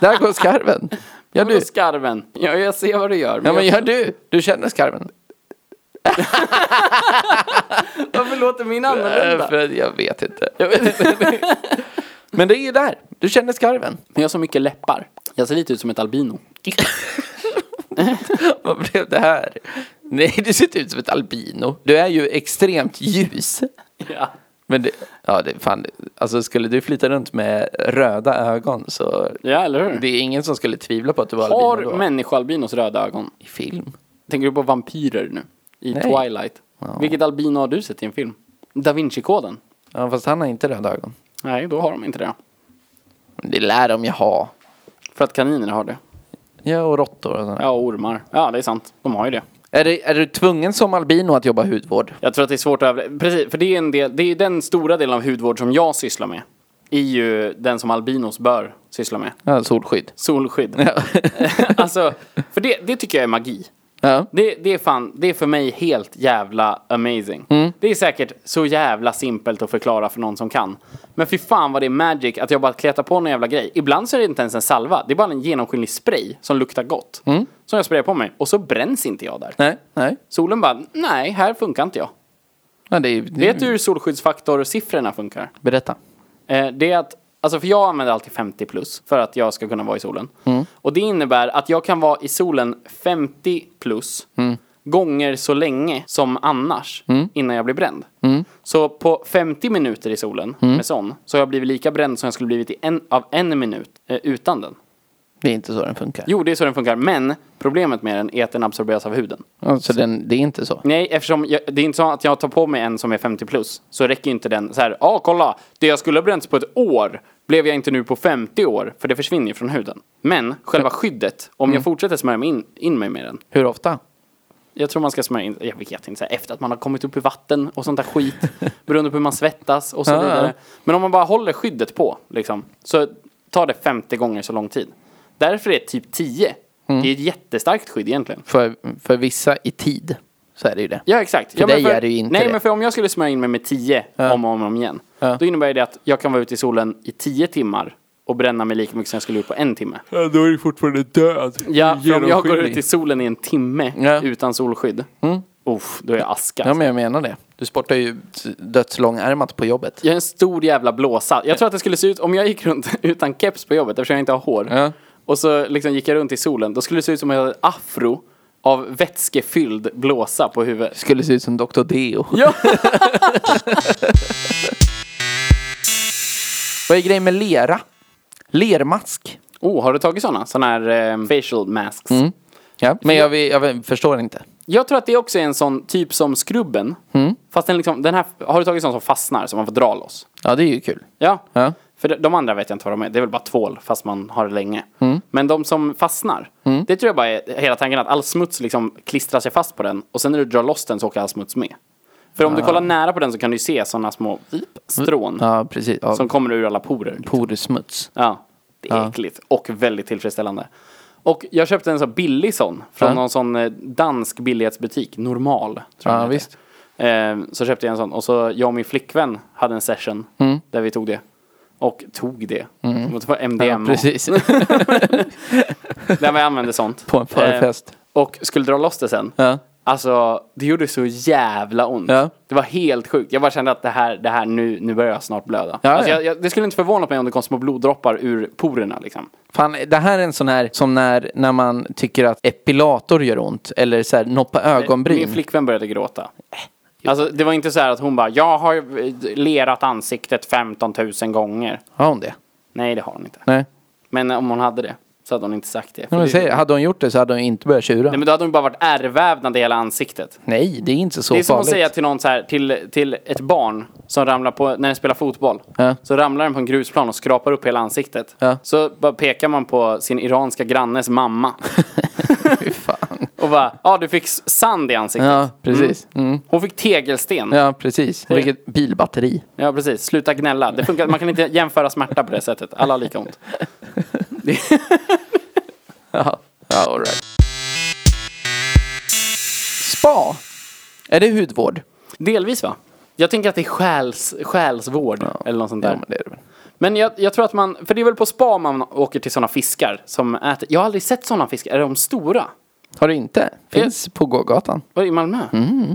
S2: Där går skarven. Gör
S1: *laughs* Vadå
S2: du.
S1: skarven? Ja, jag ser vad du gör.
S2: Ja men
S1: jag...
S2: gör du. Du känner skarven.
S1: *laughs* Varför låter min annorlunda?
S2: Äh, för jag vet inte. *laughs* Jag vet inte. Men det är ju där. Du känner skarven. *laughs*
S1: Men *laughs* jag har så mycket läppar. Jag ser lite ut som ett albino.
S2: Vad blev det här? Nej, du ser inte ut som ett albino. Du är ju extremt ljus.
S1: Ja.
S2: Men det, ja, det, fan, det- alltså skulle du flyta runt med röda ögon så
S1: Ja, eller hur?
S2: det är ingen som skulle tvivla på att du var albino
S1: Mm. Har
S2: då.
S1: människoalbinos röda ögon?
S2: I film.
S1: Tänker du på vampyrer nu? I
S2: Nej.
S1: Twilight? Vilket albino har du sett i en film? Da Vinci-koden?
S2: Ja, fast han har inte röda ögon.
S1: Nej, då har de inte det.
S2: Men Det lär de ju ha.
S1: För att kaninerna har det.
S2: Ja, och råttor och sådär.
S1: Ja, och ormar. Ja, det är sant. De har ju det.
S2: Är, du- är du tvungen som albino att jobba hudvård?
S1: Jag tror att det är svårt att över... Precis, för det är, en del, det är den stora delen av hudvård som jag sysslar med. Är ju den som albinos bör syssla med.
S2: Ja, solskydd. *laughs*
S1: Solskydd. *laughs* alltså, för det, det tycker jag är magi.
S2: Ja.
S1: Det, det är fan, det är för mig helt jävla amazing. Det är säkert så jävla simpelt att förklara för någon som kan. Men fy fan vad det är magic att jag bara kletar på någon jävla grej. Ibland så är det inte ens en salva, det är bara en genomskinlig spray som luktar gott. Som jag sprayar på mig och så bränns inte jag där.
S2: Nej, nej.
S1: Solen bara, nej, här funkar inte jag.
S2: Ja, det är, det
S1: Vet du hur solskyddsfaktorsiffrorna funkar?
S2: Berätta.
S1: Eh, det är att, alltså för jag använder alltid 50 plus för att jag ska kunna vara i solen. Och det innebär att jag kan vara i solen 50 plus gånger så länge som annars innan jag blir bränd. Så på 50 minuter i solen med sån så har jag blivit lika bränd som jag skulle blivit i en, av en minut eh, utan den.
S2: Det är inte så den funkar.
S1: Jo, det är så den funkar, men problemet med den är att den absorberas av huden.
S2: Alltså, den, det är inte så.
S1: Nej, eftersom jag, det är inte så att jag tar på mig en som är 50 plus, så räcker ju inte den så här, ja ah, kolla, det jag skulle ha bränts på ett år blev jag inte nu på 50 år, för det försvinner ju från huden. Men själva skyddet, om
S2: Mm.
S1: jag fortsätter smörja mig in, in mig med den,
S2: Hur ofta?
S1: jag tror man ska smörja in, jag vet inte, så här, efter att man har kommit upp i vatten och sånt där skit,
S2: *laughs*
S1: beroende på hur man svettas och så
S2: Ja, ja.
S1: vidare. Men om man bara håller skyddet på, liksom, så tar det 50 gånger så lång tid. Därför är typ 10,
S2: Mm.
S1: det är ett jättestarkt skydd egentligen.
S2: För, för vissa i tid så är det ju det.
S1: Ja exakt.
S2: För
S1: ja,
S2: dig är det ju inte
S1: Nej
S2: det.
S1: men för om jag skulle smörja in mig med 10 om och om, om igen. Då innebär det att jag kan vara ute i solen i 10 timmar och bränna mig lika mycket som jag skulle gjort på en timme.
S2: Ja, då är du fortfarande död.
S1: Ja, för om jag går ut i solen i en timme
S2: Ja. Mm.
S1: utan solskydd. Uff, då är jag aska.
S2: Ja, men jag menar det. Du sportar ju dödslångärmat på jobbet.
S1: Jag är en stor jävla blåsa. Jag tror att det skulle se ut, om jag gick runt *laughs* utan keps på jobbet eftersom jag inte har hår.
S2: Ja.
S1: Och så liksom gick jag runt i solen. Då skulle det se ut som att jag hade afro av vätskefylld blåsa på huvudet.
S2: Skulle se ut som Dr. *laughs* Deo.
S1: Ja.
S2: Vad är grejen med lera? Lermask.
S1: Oh, har du tagit sådana? Sådana här
S2: Mm.
S1: eh, facial masks.
S2: Ja, men jag, vill- jag vill- förstår inte.
S1: Jag tror att det också är en sån typ som skrubben.
S2: Mm.
S1: Fast den liksom, den här, har du tagit sån som fastnar som man får dra loss?
S2: Ja, det är ju kul.
S1: Ja.
S2: Ja.
S1: För de- de andra vet jag inte vad de är. Det är väl bara tvål fast man har det länge.
S2: Mm.
S1: Men de som fastnar. Det tror jag bara är hela tanken att all smuts liksom klistrar sig fast på den. Och sen när du drar loss den så åker all smuts med. För om du kollar nära på den så kan du ju se sådana små vip, strån.
S2: Ah. Ja, precis. Ja,
S1: Som kommer ur alla porer.
S2: Porsmuts.
S1: Ja, det är äckligt och väldigt tillfredsställande. Och jag köpte en sån billig sån från
S2: Ja.
S1: någon sån eh, dansk billighetsbutik, Normal. Tror
S2: Ja,
S1: jag den heter.
S2: visst.
S1: Eh, Så köpte jag en sån och så jag och min flickvän hade en session
S2: Mm.
S1: där vi tog det. Och tog det. Det var
S2: Ja,
S1: MDMA.
S2: precis. *laughs*
S1: Där vi använde sånt.
S2: På en förfest.
S1: Eh, Och skulle dra loss det sen.
S2: Ja.
S1: Alltså, det gjorde så jävla ont.
S2: Ja.
S1: Det var helt sjukt. Jag bara kände att det här, det här nu, nu börjar jag snart blöda.
S2: Ja,
S1: alltså,
S2: ja.
S1: Jag, jag, det skulle inte förvåna mig om det kom små bloddroppar ur porerna liksom.
S2: Fan, det här är en sån här som när, när man tycker att epilator gör ont eller så här noppa
S1: Eh, Min
S2: ögonbryn.
S1: flickvän började gråta. Alltså det var inte så här att hon bara, jag har ju lerat ansiktet 15 000 gånger.
S2: Har hon det?
S1: Nej det har hon inte.
S2: Nej.
S1: Men om hon hade det så hade hon inte sagt det. För
S2: Men
S1: det
S2: jag säger, hade hon gjort det så hade hon inte börjat tjura.
S1: nej
S2: Nej,
S1: men då hade hon bara varit ärrvävnad i hela ansiktet.
S2: det är inte så
S1: Det är som att
S2: farligt.
S1: säga till någon så här, till, till ett barn som ramlar på, när den spelar fotboll.
S2: Ja.
S1: Så ramlar den på en grusplan och skrapar upp hela ansiktet.
S2: Ja.
S1: Så bara pekar man på sin iranska
S2: *laughs*
S1: grannes mamma.
S2: *laughs* Fy fan.
S1: Och bara, ja ah, du fick s- sand i ansiktet.
S2: Ja, precis. Mm.
S1: Hon fick tegelsten.
S2: Ja, precis. Vilket bilbatteri.
S1: Ja, precis. Sluta gnälla. Det funkar, man kan inte jämföra smärta på det sättet. Alla har lika ont.
S2: Ja, ja all right. Spa. Är det hudvård?
S1: Delvis, va? Jag tänker att det är själs, själsvård eller något sånt där.
S2: men det är det väl.
S1: Men jag, jag tror att man, för det är väl på spa man åker till sådana fiskar som äter. Jag har aldrig sett sådana fiskar. Är de stora?
S2: Har du inte? Finns på gågatan.
S1: Var det i Malmö?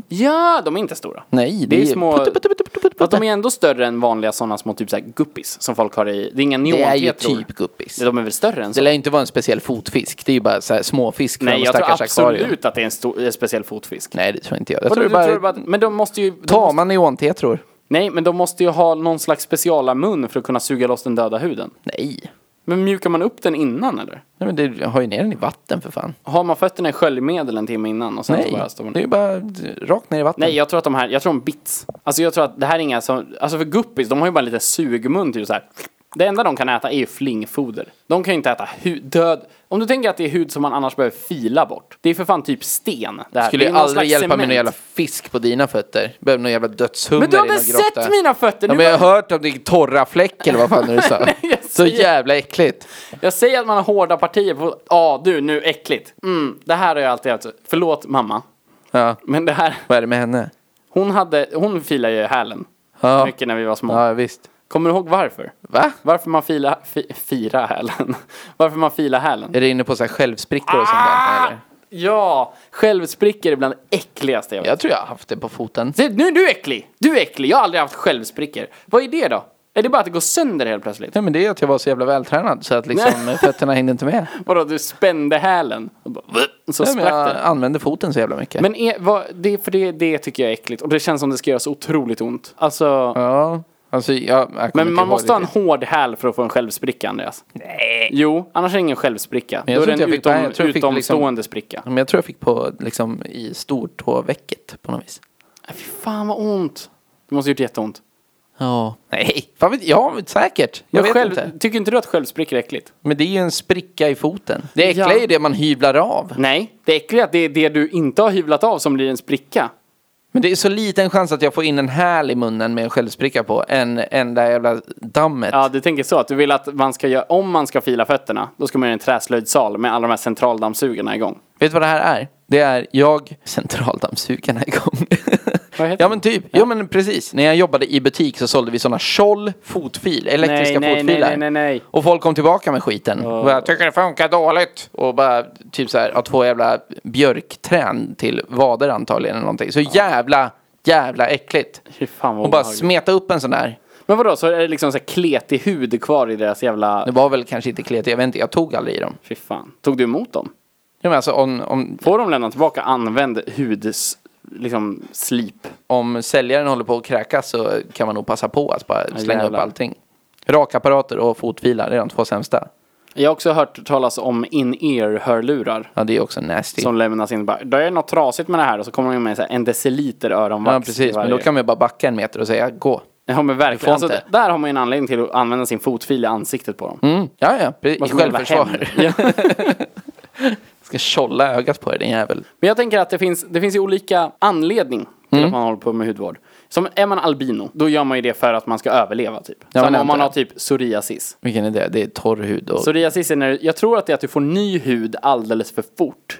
S1: Ja, de är inte stora.
S2: Mm. Nej, det,
S1: Det är
S2: är
S1: små-
S2: putte, putte, putte, putte, putte,
S1: För att de är ändå större än vanliga sådana små typ så här guppis som folk har i. Det är inga
S2: Det är ju
S1: neontetror.
S2: typ guppis.
S1: De är väl större än
S2: Alltså, Det
S1: så?
S2: lär ju inte vara en speciell fotfisk. Det är ju bara så här småfisk
S1: Nej,
S2: från
S1: jag tror
S2: stackars akvarium.
S1: absolut att det är en, stor, en speciell fotfisk.
S2: Nej, det tror inte jag. Jag
S1: Vadå,
S2: tror det
S1: du
S2: bara
S1: tror bara, att- men de måste ju... De måste,
S2: tama neontetror.
S1: nej, men de måste ju ha någon slags speciala mun för att kunna suga loss den döda huden.
S2: Nej.
S1: Men mjukar man upp den innan eller?
S2: Nej, men du har ju ner den i vatten för fan.
S1: Har man fötterna i sköljmedel en timme innan och sen så
S2: Nej,
S1: bara står man...
S2: det är ju bara d- rakt ner i vatten.
S1: Nej, jag tror att de här, jag tror de bits. Alltså jag tror att det här är inga som, alltså för guppis, de har ju bara en liten sugmun typ så här. Det enda de kan äta är ju flingfoder. De kan ju inte äta hud, död. Om du tänker att det är hud som man annars behöver fila bort. Det är för fan typ sten. Det här.
S2: Skulle
S1: det är
S2: ju
S1: någon
S2: aldrig
S1: slags
S2: hjälpa med
S1: cement.
S2: någon jävla fisk på dina fötter. Behöver någon jävla dödshummer
S1: Men du har
S2: i någon
S1: väl sett
S2: grotta.
S1: mina fötter?
S2: Ja,
S1: Nu
S2: men jag
S1: bara-
S2: har hört om din torra fläck eller vad fan är det du
S1: *laughs*
S2: sa.
S1: jag
S2: så
S1: säger-
S2: jävla äckligt.
S1: Jag säger att man har hårda partier på, ja ah, du nu äckligt. Mm, det här har jag alltid haft. Förlåt mamma.
S2: Ja,
S1: Men det här,
S2: vad är det med henne?
S1: hon hade, hon filade ju hälen.
S2: Ja.
S1: Mycket när vi var små.
S2: Ja, visst.
S1: Kommer du ihåg varför?
S2: Va?
S1: Varför man fila, fi, fira hälen? *laughs* Varför man filar hälen? Ah!
S2: Är det inne på så här självsprickor och sånt där? Eller?
S1: Ja, självsprickor är bland det äckligaste jag vet.
S2: Jag tror jag har haft det på foten.
S1: Se, Nu är du äcklig! Du är äcklig, jag har aldrig haft självsprickor. Vad är det då? Är det bara att det går sönder helt plötsligt?
S2: Nej men det är att jag var så jävla vältränad så att liksom
S1: Nej.
S2: fötterna hängde inte med.
S1: Vadå, du spände hälen? Och bara, så
S2: Nej, men
S1: sprack
S2: jag
S1: den.
S2: använde foten så jävla mycket.
S1: Men är, vad, det, för det, det tycker jag är äckligt. Och det känns som det ska göra så otroligt ont. Alltså,
S2: ja, alltså jag, jag kommer
S1: men
S2: inte
S1: man
S2: ihåg
S1: måste ha en
S2: riktigt.
S1: hård häl för att få en självspricka, Andreas. Nej. Jo, annars är det ingen självspricka.
S2: jag
S1: Då
S2: tror
S1: är det
S2: inte
S1: en
S2: jag fick- nej,
S1: utom,
S2: jag tror jag fick liksom-
S1: utomstående spricka.
S2: Men jag tror jag fick på liksom i stortåvecket på något vis.
S1: Äh, Fy fan vad ont. Det måste ha gjort jätteont.
S2: Ja. Nej, fan vet, ja men säkert. Jag
S1: Men
S2: vet
S1: själv,
S2: inte.
S1: Tycker inte du att självsprickor är äckligt?
S2: Men det är ju en spricka i foten. Det äckliga
S1: Ja.
S2: är ju det man hyvlar av.
S1: Nej, det äckliga är att det är det du inte har hyvlat av som blir en spricka.
S2: Men det är så liten chans att jag får in en häl i munnen med en självspricka på än, än det här jävla dammet.
S1: Ja, du tänker så att du vill att man ska göra, om man ska fila fötterna, då ska man göra en träslöjdsal med alla de här centraldammsugarna igång.
S2: Vet du vad det här är? Det är jag, centraldammsugarna igång.
S1: Vad heter
S2: ja
S1: den?
S2: men typ, ja. men precis. När jag jobbade i butik så sålde vi sådana tjoll fotfil, elektriska
S1: Nej, nej,
S2: fotfiler.
S1: nej, nej, nej.
S2: Och folk kom tillbaka med skiten. Och bara, tycker det funkar dåligt. Och bara typ så här, ha två jävla björkträn till vader antagligen eller någonting. Så jävla, jävla äckligt.
S1: Fy fan vad
S2: Och bara
S1: obehagligt.
S2: smeta upp en sån där.
S1: Men vadå, så är det liksom så här kletig hud kvar i deras jävla...
S2: Det var väl kanske inte kletigt, jag vet inte, jag tog aldrig i dem.
S1: Fy fan. Tog du emot dem?
S2: Ja, men alltså om, om,
S1: Får de lämna tillbaka använd huds... Liksom slip.
S2: om säljaren håller på att kräkas så kan man nog passa på att bara slänga
S1: jävlar.
S2: upp allting. Rakapparater och fotfilar det är de två sämsta.
S1: Jag har också hört talas om in-ear-hörlurar.
S2: Ja, det är också nasty.
S1: Som lämnas in bara, det är något trasigt med det här och så kommer de in med så här en deciliter öronvax.
S2: ja,
S1: i
S2: precis. Men
S1: varje.
S2: då kan man ju bara backa en meter och säga gå.
S1: Ja men
S2: Du får
S1: verkligen. Alltså,
S2: inte.
S1: där har man ju en anledning till att använda sin fotfil i ansiktet på dem.
S2: Mm. Ja, ja, pre- i
S1: Vad som en
S2: *laughs*
S1: jävla
S2: självförsvar.
S1: hämnd. Ja.
S2: Ska tjolla ögat på dig, din jävel.
S1: Men jag tänker att det finns, det finns ju olika anledning till
S2: Mm.
S1: att man håller på med hudvård. Som är man albino, då gör man ju det för att man ska överleva typ.
S2: men
S1: Samma
S2: jag
S1: om man
S2: antar
S1: har
S2: det.
S1: typ psoriasis.
S2: Vilken är det? Det är torr hud och...
S1: Psoriasis är när, jag tror att det är att du får ny hud alldeles för fort.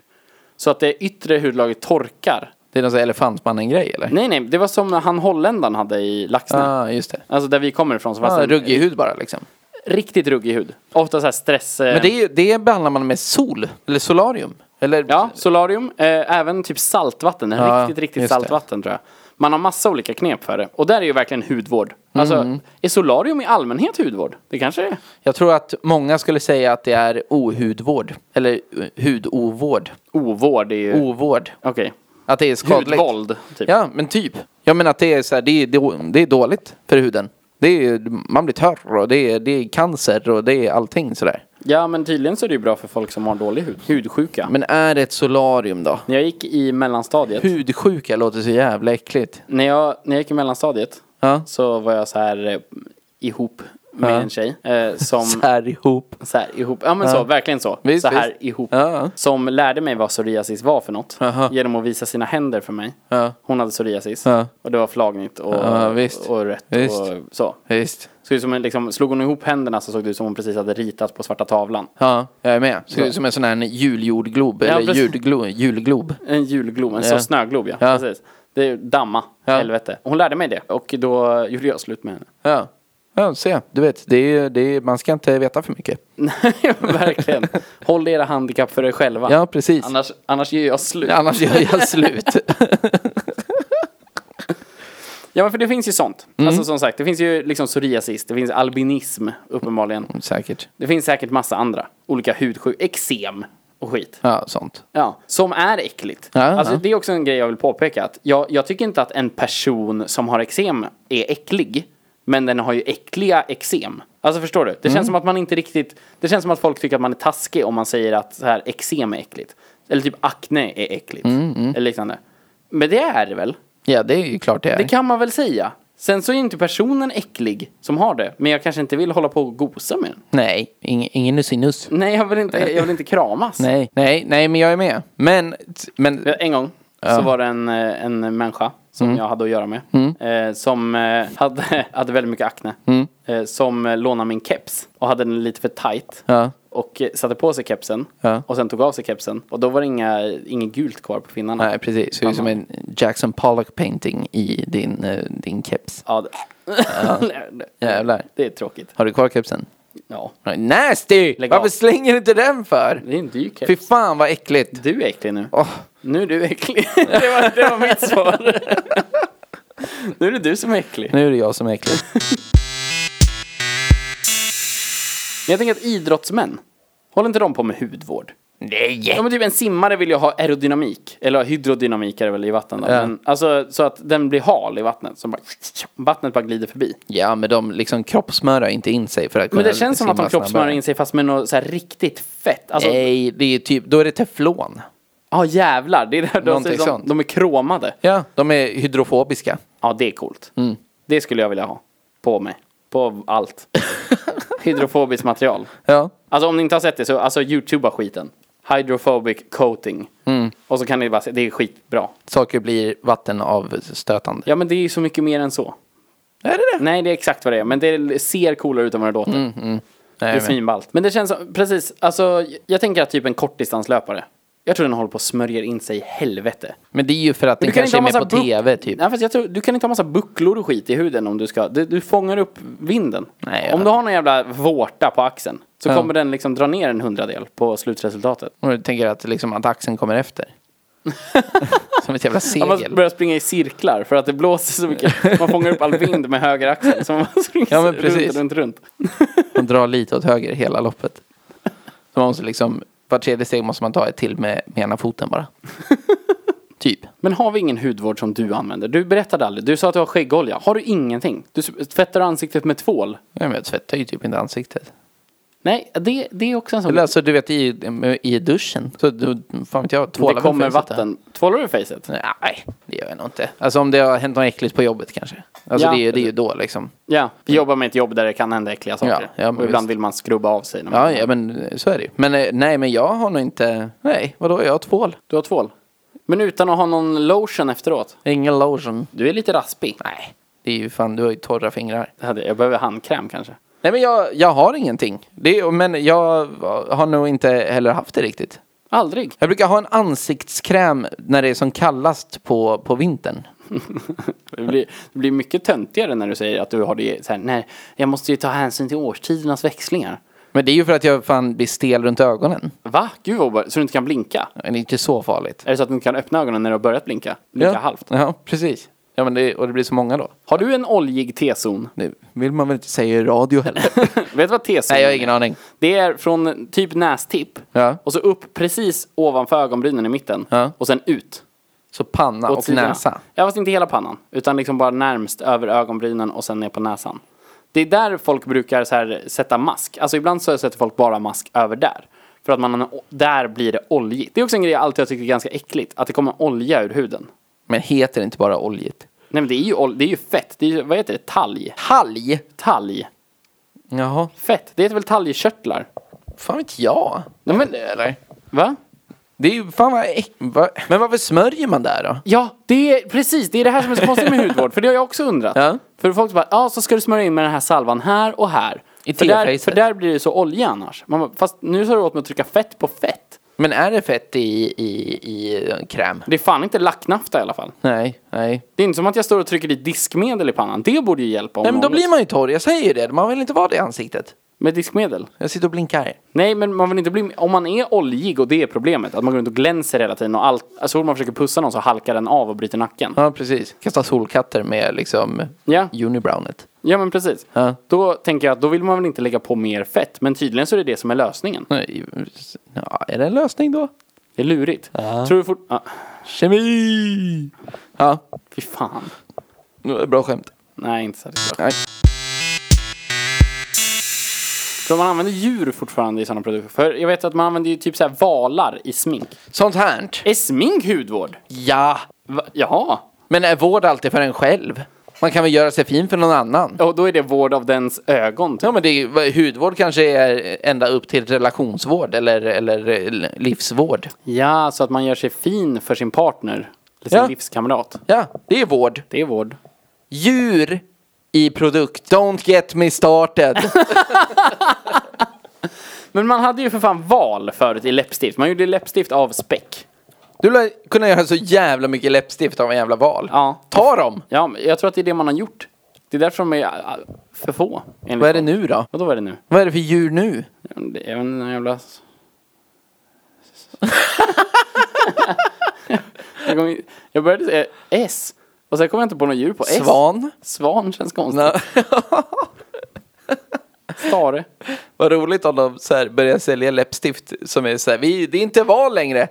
S1: Så att det yttre hudlagret torkar.
S2: Det är någon sån här elefantmannen-grej, eller?
S1: Nej nej, det var som han holländaren hade i Laxne.
S2: Ja, just det.
S1: Alltså där vi kommer ifrån så fanns
S2: Ja,
S1: det en
S2: ruggig hud bara, liksom.
S1: riktigt ruggig hud. Ofta så här stress... eh,
S2: Men det, är, ju- det behandlar man med sol, eller solarium. Eller...
S1: Ja, solarium. Eh, även typ saltvatten.
S2: Ja,
S1: riktigt, riktigt
S2: Ah, just det.
S1: saltvatten tror jag. Man har massa olika knep för det. Och där är ju verkligen hudvård. Alltså,
S2: Mm.
S1: är solarium i allmänhet hudvård? Det kanske det är.
S2: Jag tror att många skulle säga att det är ohudvård. Eller eh, hudovård.
S1: Ovård är ju...
S2: Ovård.
S1: Okej.
S2: Att det är skadligt.
S1: Hudvåld, typ.
S2: Ja, men typ. Jag menar att det är så här, det är, det är- det är dåligt för huden. Det är, man blir torr och det är, det är cancer och det är allting sådär.
S1: Ja, men tydligen så är det ju bra för folk som har dålig hud. Hudsjuka.
S2: Men är det ett solarium då?
S1: När jag gick i mellanstadiet.
S2: Hudsjuka låter så jävla äckligt.
S1: När jag, när jag gick i mellanstadiet
S2: Ja.
S1: så var jag så här eh, ihop med en tjej. Eh, som...
S2: *laughs* Så här ihop.
S1: Så här ihop, ja men så, verkligen så.
S2: Visst,
S1: så här
S2: visst.
S1: ihop.
S2: Ja.
S1: Som lärde mig vad psoriasis var för något.
S2: Aha.
S1: Genom att visa sina händer för mig.
S2: Ja.
S1: Hon hade psoriasis.
S2: Ja.
S1: Och det var flagnigt och,
S2: Ja, visst.
S1: och rött
S2: Visst.
S1: och så.
S2: Visst.
S1: så som en, liksom, slog hon ihop händerna så såg det ut som hon precis hade ritat på svarta tavlan.
S2: Ja, jag är med. Ser ut som en sån här juljordglob.
S1: Ja,
S2: eller
S1: precis.
S2: julglo, julglob.
S1: En julglob, en
S2: Ja.
S1: ja. snöglob ja.
S2: Ja.
S1: Precis. Det är ju damma,
S2: Ja.
S1: helvete. Hon lärde mig det och då gjorde jag slut med henne.
S2: Ja. Ja, se. Du vet, det är, det är, man ska inte veta för mycket.
S1: Nej, *laughs* verkligen. Håll era handikapp för er själva.
S2: Ja, precis.
S1: Annars, annars gör jag slut.
S2: Annars gör jag slut.
S1: Ja, men för det finns ju sånt.
S2: Mm.
S1: Alltså som sagt, det finns ju liksom psoriasis, det finns albinism uppenbarligen.
S2: *laughs* Säkert.
S1: Det finns säkert massa andra. Olika hudsjukdomar, eksem och skit.
S2: Ja, sånt.
S1: Ja, som är äckligt.
S2: Ja,
S1: alltså,
S2: ja.
S1: Det är också en grej jag vill påpeka. Att jag, jag tycker inte att en person som har eksem är äcklig. Men den har ju äckliga eksem. Alltså förstår du? Det
S2: Mm.
S1: känns som att man inte riktigt... Det känns som att folk tycker att man är taskig om man säger att så här, eksem är äckligt. Eller typ akne är äckligt.
S2: Mm,
S1: Eller liknande. Men det är det väl?
S2: Ja, det är ju klart det är.
S1: Det kan man väl säga. Sen så är ju inte personen äcklig som har det. Men jag kanske inte vill hålla på och gosa med den.
S2: Nej, ingen, ingen nusinus.
S1: Nej, jag vill inte, jag vill inte kramas.
S2: Nej, nej, nej, men jag är med. Men, men
S1: Ja, Eh, En gång så var det en, eh, en människa som
S2: Mm.
S1: jag hade att göra med. Eh, som eh, hade, *laughs* hade väldigt mycket akne.
S2: Mm.
S1: Eh, som eh, lånade min keps och hade den lite för tight.
S2: Ja.
S1: Och eh, satte på sig kepsen
S2: Ja.
S1: och sen tog av sig kepsen. Och då var det inga, inget gult kvar på finnarna.
S2: nej, precis. Det är ju som en Jackson Pollock painting i din, eh, din keps.
S1: Ja, det,
S2: Jävlar.
S1: *laughs* det är tråkigt.
S2: Har du kvar kepsen?
S1: Ja.
S2: Nej, Nasty!
S1: Lägg av.
S2: Varför slänger du inte den för?
S1: Det är en dyr
S2: Fy
S1: keps.
S2: fan vad äckligt.
S1: Du är äcklig nu.
S2: Åh,
S1: Nu är
S2: *laughs*
S1: du äcklig. det, var, det var mitt svar. nu är det du som är äcklig.
S2: nu är det jag som är äcklig.
S1: Men jag tänker att idrottsmän, håller inte de på med hudvård?
S2: nej!
S1: Ja men typ en simmare vill ju ha aerodynamik, eller hydrodynamik är det väl i vatten då. Men, alltså så att den blir hal i vattnet, så bara, vattnet bara glider förbi.
S2: Ja, men de liksom kroppssmörar inte in sig för att kunna
S1: Men det känns som att
S2: simma
S1: de kroppsmörjer
S2: snabbare.
S1: in sig fast med något så här riktigt fett. Alltså, ja
S2: Nej, det är typ, då är det teflon.
S1: jävlar, det är där de,
S2: Någonting
S1: ser som,
S2: sånt.
S1: de är kromade.
S2: Ja, de är hydrofobiska.
S1: Ja det är coolt.
S2: Mm.
S1: Det skulle jag vilja ha. På mig. På allt.
S2: *laughs*
S1: Hydrofobiskt material.
S2: Ja.
S1: Alltså om ni inte har sett det så, alltså youtuba skiten. Hydrophobic coating.
S2: Mm.
S1: Och så kan ni bara se, det är skitbra.
S2: Saker blir vattenavstötande.
S1: Ja men det är ju så mycket mer än så.
S2: Är det det?
S1: Nej, det är exakt vad det är. Men det ser coolare ut än vad det låter. Det är
S2: Mm. Nej, men,
S1: svinballt. Men det känns som, precis, alltså jag tänker att typ en kortdistanslöpare. Jag tror den håller på och smörjer in sig i helvete.
S2: men det är ju för att den kanske är med på
S1: buck-
S2: tv, typ.
S1: Nej, fast jag tror, du kan inte ha massa bucklor och skit i huden om du ska, du, du fångar upp vinden.
S2: Nej, ja.
S1: Om du har någon jävla vårta på axeln så
S2: Ja.
S1: kommer den liksom dra ner en hundradel på slutresultatet.
S2: Och du tänker att, liksom, att axeln kommer
S1: *laughs*
S2: efter. som ett jävla
S1: Ja, Man
S2: segel.
S1: börjar springa i cirklar för att det blåser så mycket. Man fångar upp all vind med höger axel. Så man springer
S2: Ja, men
S1: runt,
S2: precis.
S1: runt, runt.
S2: Man drar lite åt höger hela loppet. Så man måste liksom, var tredje steg måste man ta ett till med, med ena foten
S1: *laughs*
S2: bara. typ.
S1: Men har vi ingen hudvård som du använder? Du berättade aldrig. Du sa att du har skäggolja. Har du ingenting? Du s- tvättar ansiktet med tvål.
S2: Ja, men jag tvättar ju typ inte ansiktet.
S1: Nej, det, det är också en sån...
S2: Eller alltså, du vet i, i duschen. Så du, fan vet jag, tvålar
S1: det
S2: väl
S1: kommer
S2: facet där.
S1: vatten. Tvålar du facet?
S2: Nej, det gör jag nog inte. Alltså om det har hänt något äckligt på jobbet kanske. Alltså
S1: Ja.
S2: det, är ju, det är ju då liksom.
S1: Ja. Vi jobbar med ett jobb där det kan hända äckliga saker.
S2: Ja, ja, men
S1: och ibland
S2: visst.
S1: vill man skrubba av sig. När man...
S2: Ja, ja men eh, så är det ju. Men eh, nej, men jag har nog inte, nej, vadå, jag har tvål.
S1: Du har tvål. Men utan att ha någon lotion efteråt.
S2: Ingen lotion.
S1: Du är lite raspig.
S2: Nej, det är ju fan, du har ju torra fingrar.
S1: Det hade- Jag behöver handkräm kanske.
S2: Nej men jag, jag har ingenting. Det, är- men jag har nog inte heller haft det riktigt.
S1: Aldrig. *laughs*
S2: Jag brukar ha en ansiktskräm när det är som kallast på, på vintern.
S1: Det blir, det blir mycket töntigare när du säger att du har det så här, nej, jag måste ju ta hänsyn till årstidernas växlingar.
S2: Men det är ju för att jag fan blir stel runt ögonen.
S1: Va? Gud vad obe- Så du inte kan blinka?
S2: Det är inte så farligt.
S1: Är det så att du inte kan öppna ögonen när du har börjat blinka? Blinka
S2: ja.
S1: halvt.
S2: Ja, precis. Ja, men det, och det blir så många då.
S1: Har du en oljig T-zon? *laughs*
S2: Det vill man väl inte säga i radio heller?
S1: Vet du vad
S2: *laughs*
S1: T-zon
S2: Nej, jag har ingen aning.
S1: Det är från typ nästipp
S2: Ja.
S1: och så upp precis ovanför ögonbrynen i mitten
S2: Ja.
S1: och sen ut.
S2: Så panna
S1: åt
S2: och,
S1: sidorna.
S2: näsa.
S1: Ja, fast inte hela pannan. Utan liksom bara närmst över ögonbrynen och sen ner på näsan. Det är där folk brukar så här sätta mask. Alltså ibland så sätter folk bara mask över där. För att man, där blir det oljigt. Det är också en grej jag alltid har tyckt är ganska äckligt. Att det kommer olja ur huden.
S2: Men heter det inte bara oljigt?
S1: Nej men det är ju, ol- det är ju fett. Det är ju, vad heter det? Talg.
S2: Talg?
S1: Talg.
S2: Jaha,
S1: Fett. Det heter väl talgkörtlar?
S2: fan vet jag.
S1: Nej men,
S2: Eller?
S1: va?
S2: Det är ju fan vad äck... va? Men varför smörjer man där då?
S1: Ja, det är precis. Det är det här som är så konstigt med hudvård. För det har jag också undrat.
S2: Ja.
S1: För folk bara, ja så ska du smörja in med den här salvan här och här.
S2: I
S1: för, där,
S2: tefacet.
S1: för där blir det så olja annars. Man bara, fast nu sa du åt mig att trycka fett på fett.
S2: Men är det fett i, i, i kräm?
S1: Det är fan inte lacknafta i alla fall.
S2: Nej, nej.
S1: Det är inte som att jag står och trycker i diskmedel i pannan. Det borde ju hjälpa om
S2: Nej men då
S1: något.
S2: blir man ju torr, jag säger ju det. Man vill inte vara det i ansiktet.
S1: Med diskmedel?
S2: Jag sitter och blinkar.
S1: Nej, men man vill inte bli... Om man är oljig och det är problemet, att man går runt och glänser hela tiden och allt... Alltså, så fort man försöker pussa någon så halkar den av och bryter nacken.
S2: Ja, precis. Kasta solkatter med liksom
S1: Ja.
S2: unibrownet.
S1: Ja, men precis.
S2: Ja.
S1: Då tänker jag att då vill man väl inte lägga på mer fett, men tydligen så är det det som är lösningen.
S2: Nej, Ja, är det en lösning då?
S1: Det är lurigt. Tror du fort... Ah,
S2: Kemi! Ja,
S1: fy fan.
S2: det var ett bra skämt.
S1: Nej, inte särskilt bra.
S2: Nej.
S1: För man använder djur fortfarande i sådana produkter. För jag vet att man använder ju typ så här valar i smink.
S2: Sånt här.
S1: Är smink hudvård?
S2: Ja,
S1: Va? Jaha.
S2: men är vård alltid för en själv? Man kan väl göra sig fin för någon annan?
S1: Och då är det vård av dens ögon. Typ.
S2: Ja, men det, är- vad- hudvård kanske är ända upp till relationsvård eller, eller eh, livsvård.
S1: Ja, så att man gör sig fin för sin partner. Eller sin
S2: Ja.
S1: livskamrat.
S2: Ja, det är vård.
S1: Det är vård.
S2: Djur i produkt. Don't get me started.
S1: *laughs* Men man hade ju för fan val förut i läppstift. Man gjorde läppstift av späck.
S2: Du lär kunna göra så jävla mycket läppstift av en jävla val.
S1: Ja.
S2: Ta dem!
S1: Ja, men jag tror att det är det man har gjort. Det är därför de är äh, för få. enligt
S2: Vad är det
S1: dem.
S2: nu då?
S1: Vadå, vad är det nu?
S2: Vad är det för djur nu?
S1: Det är väl en jävla...
S2: *laughs*
S1: jag, kom in, jag började säga S. Och sen kom jag inte på något djur på S.
S2: Svan?
S1: Svan känns konstigt.
S2: Nej.
S1: Stare.
S2: *laughs* Vad roligt om de så här börjar sälja läppstift som är så här, vi, det är inte val längre.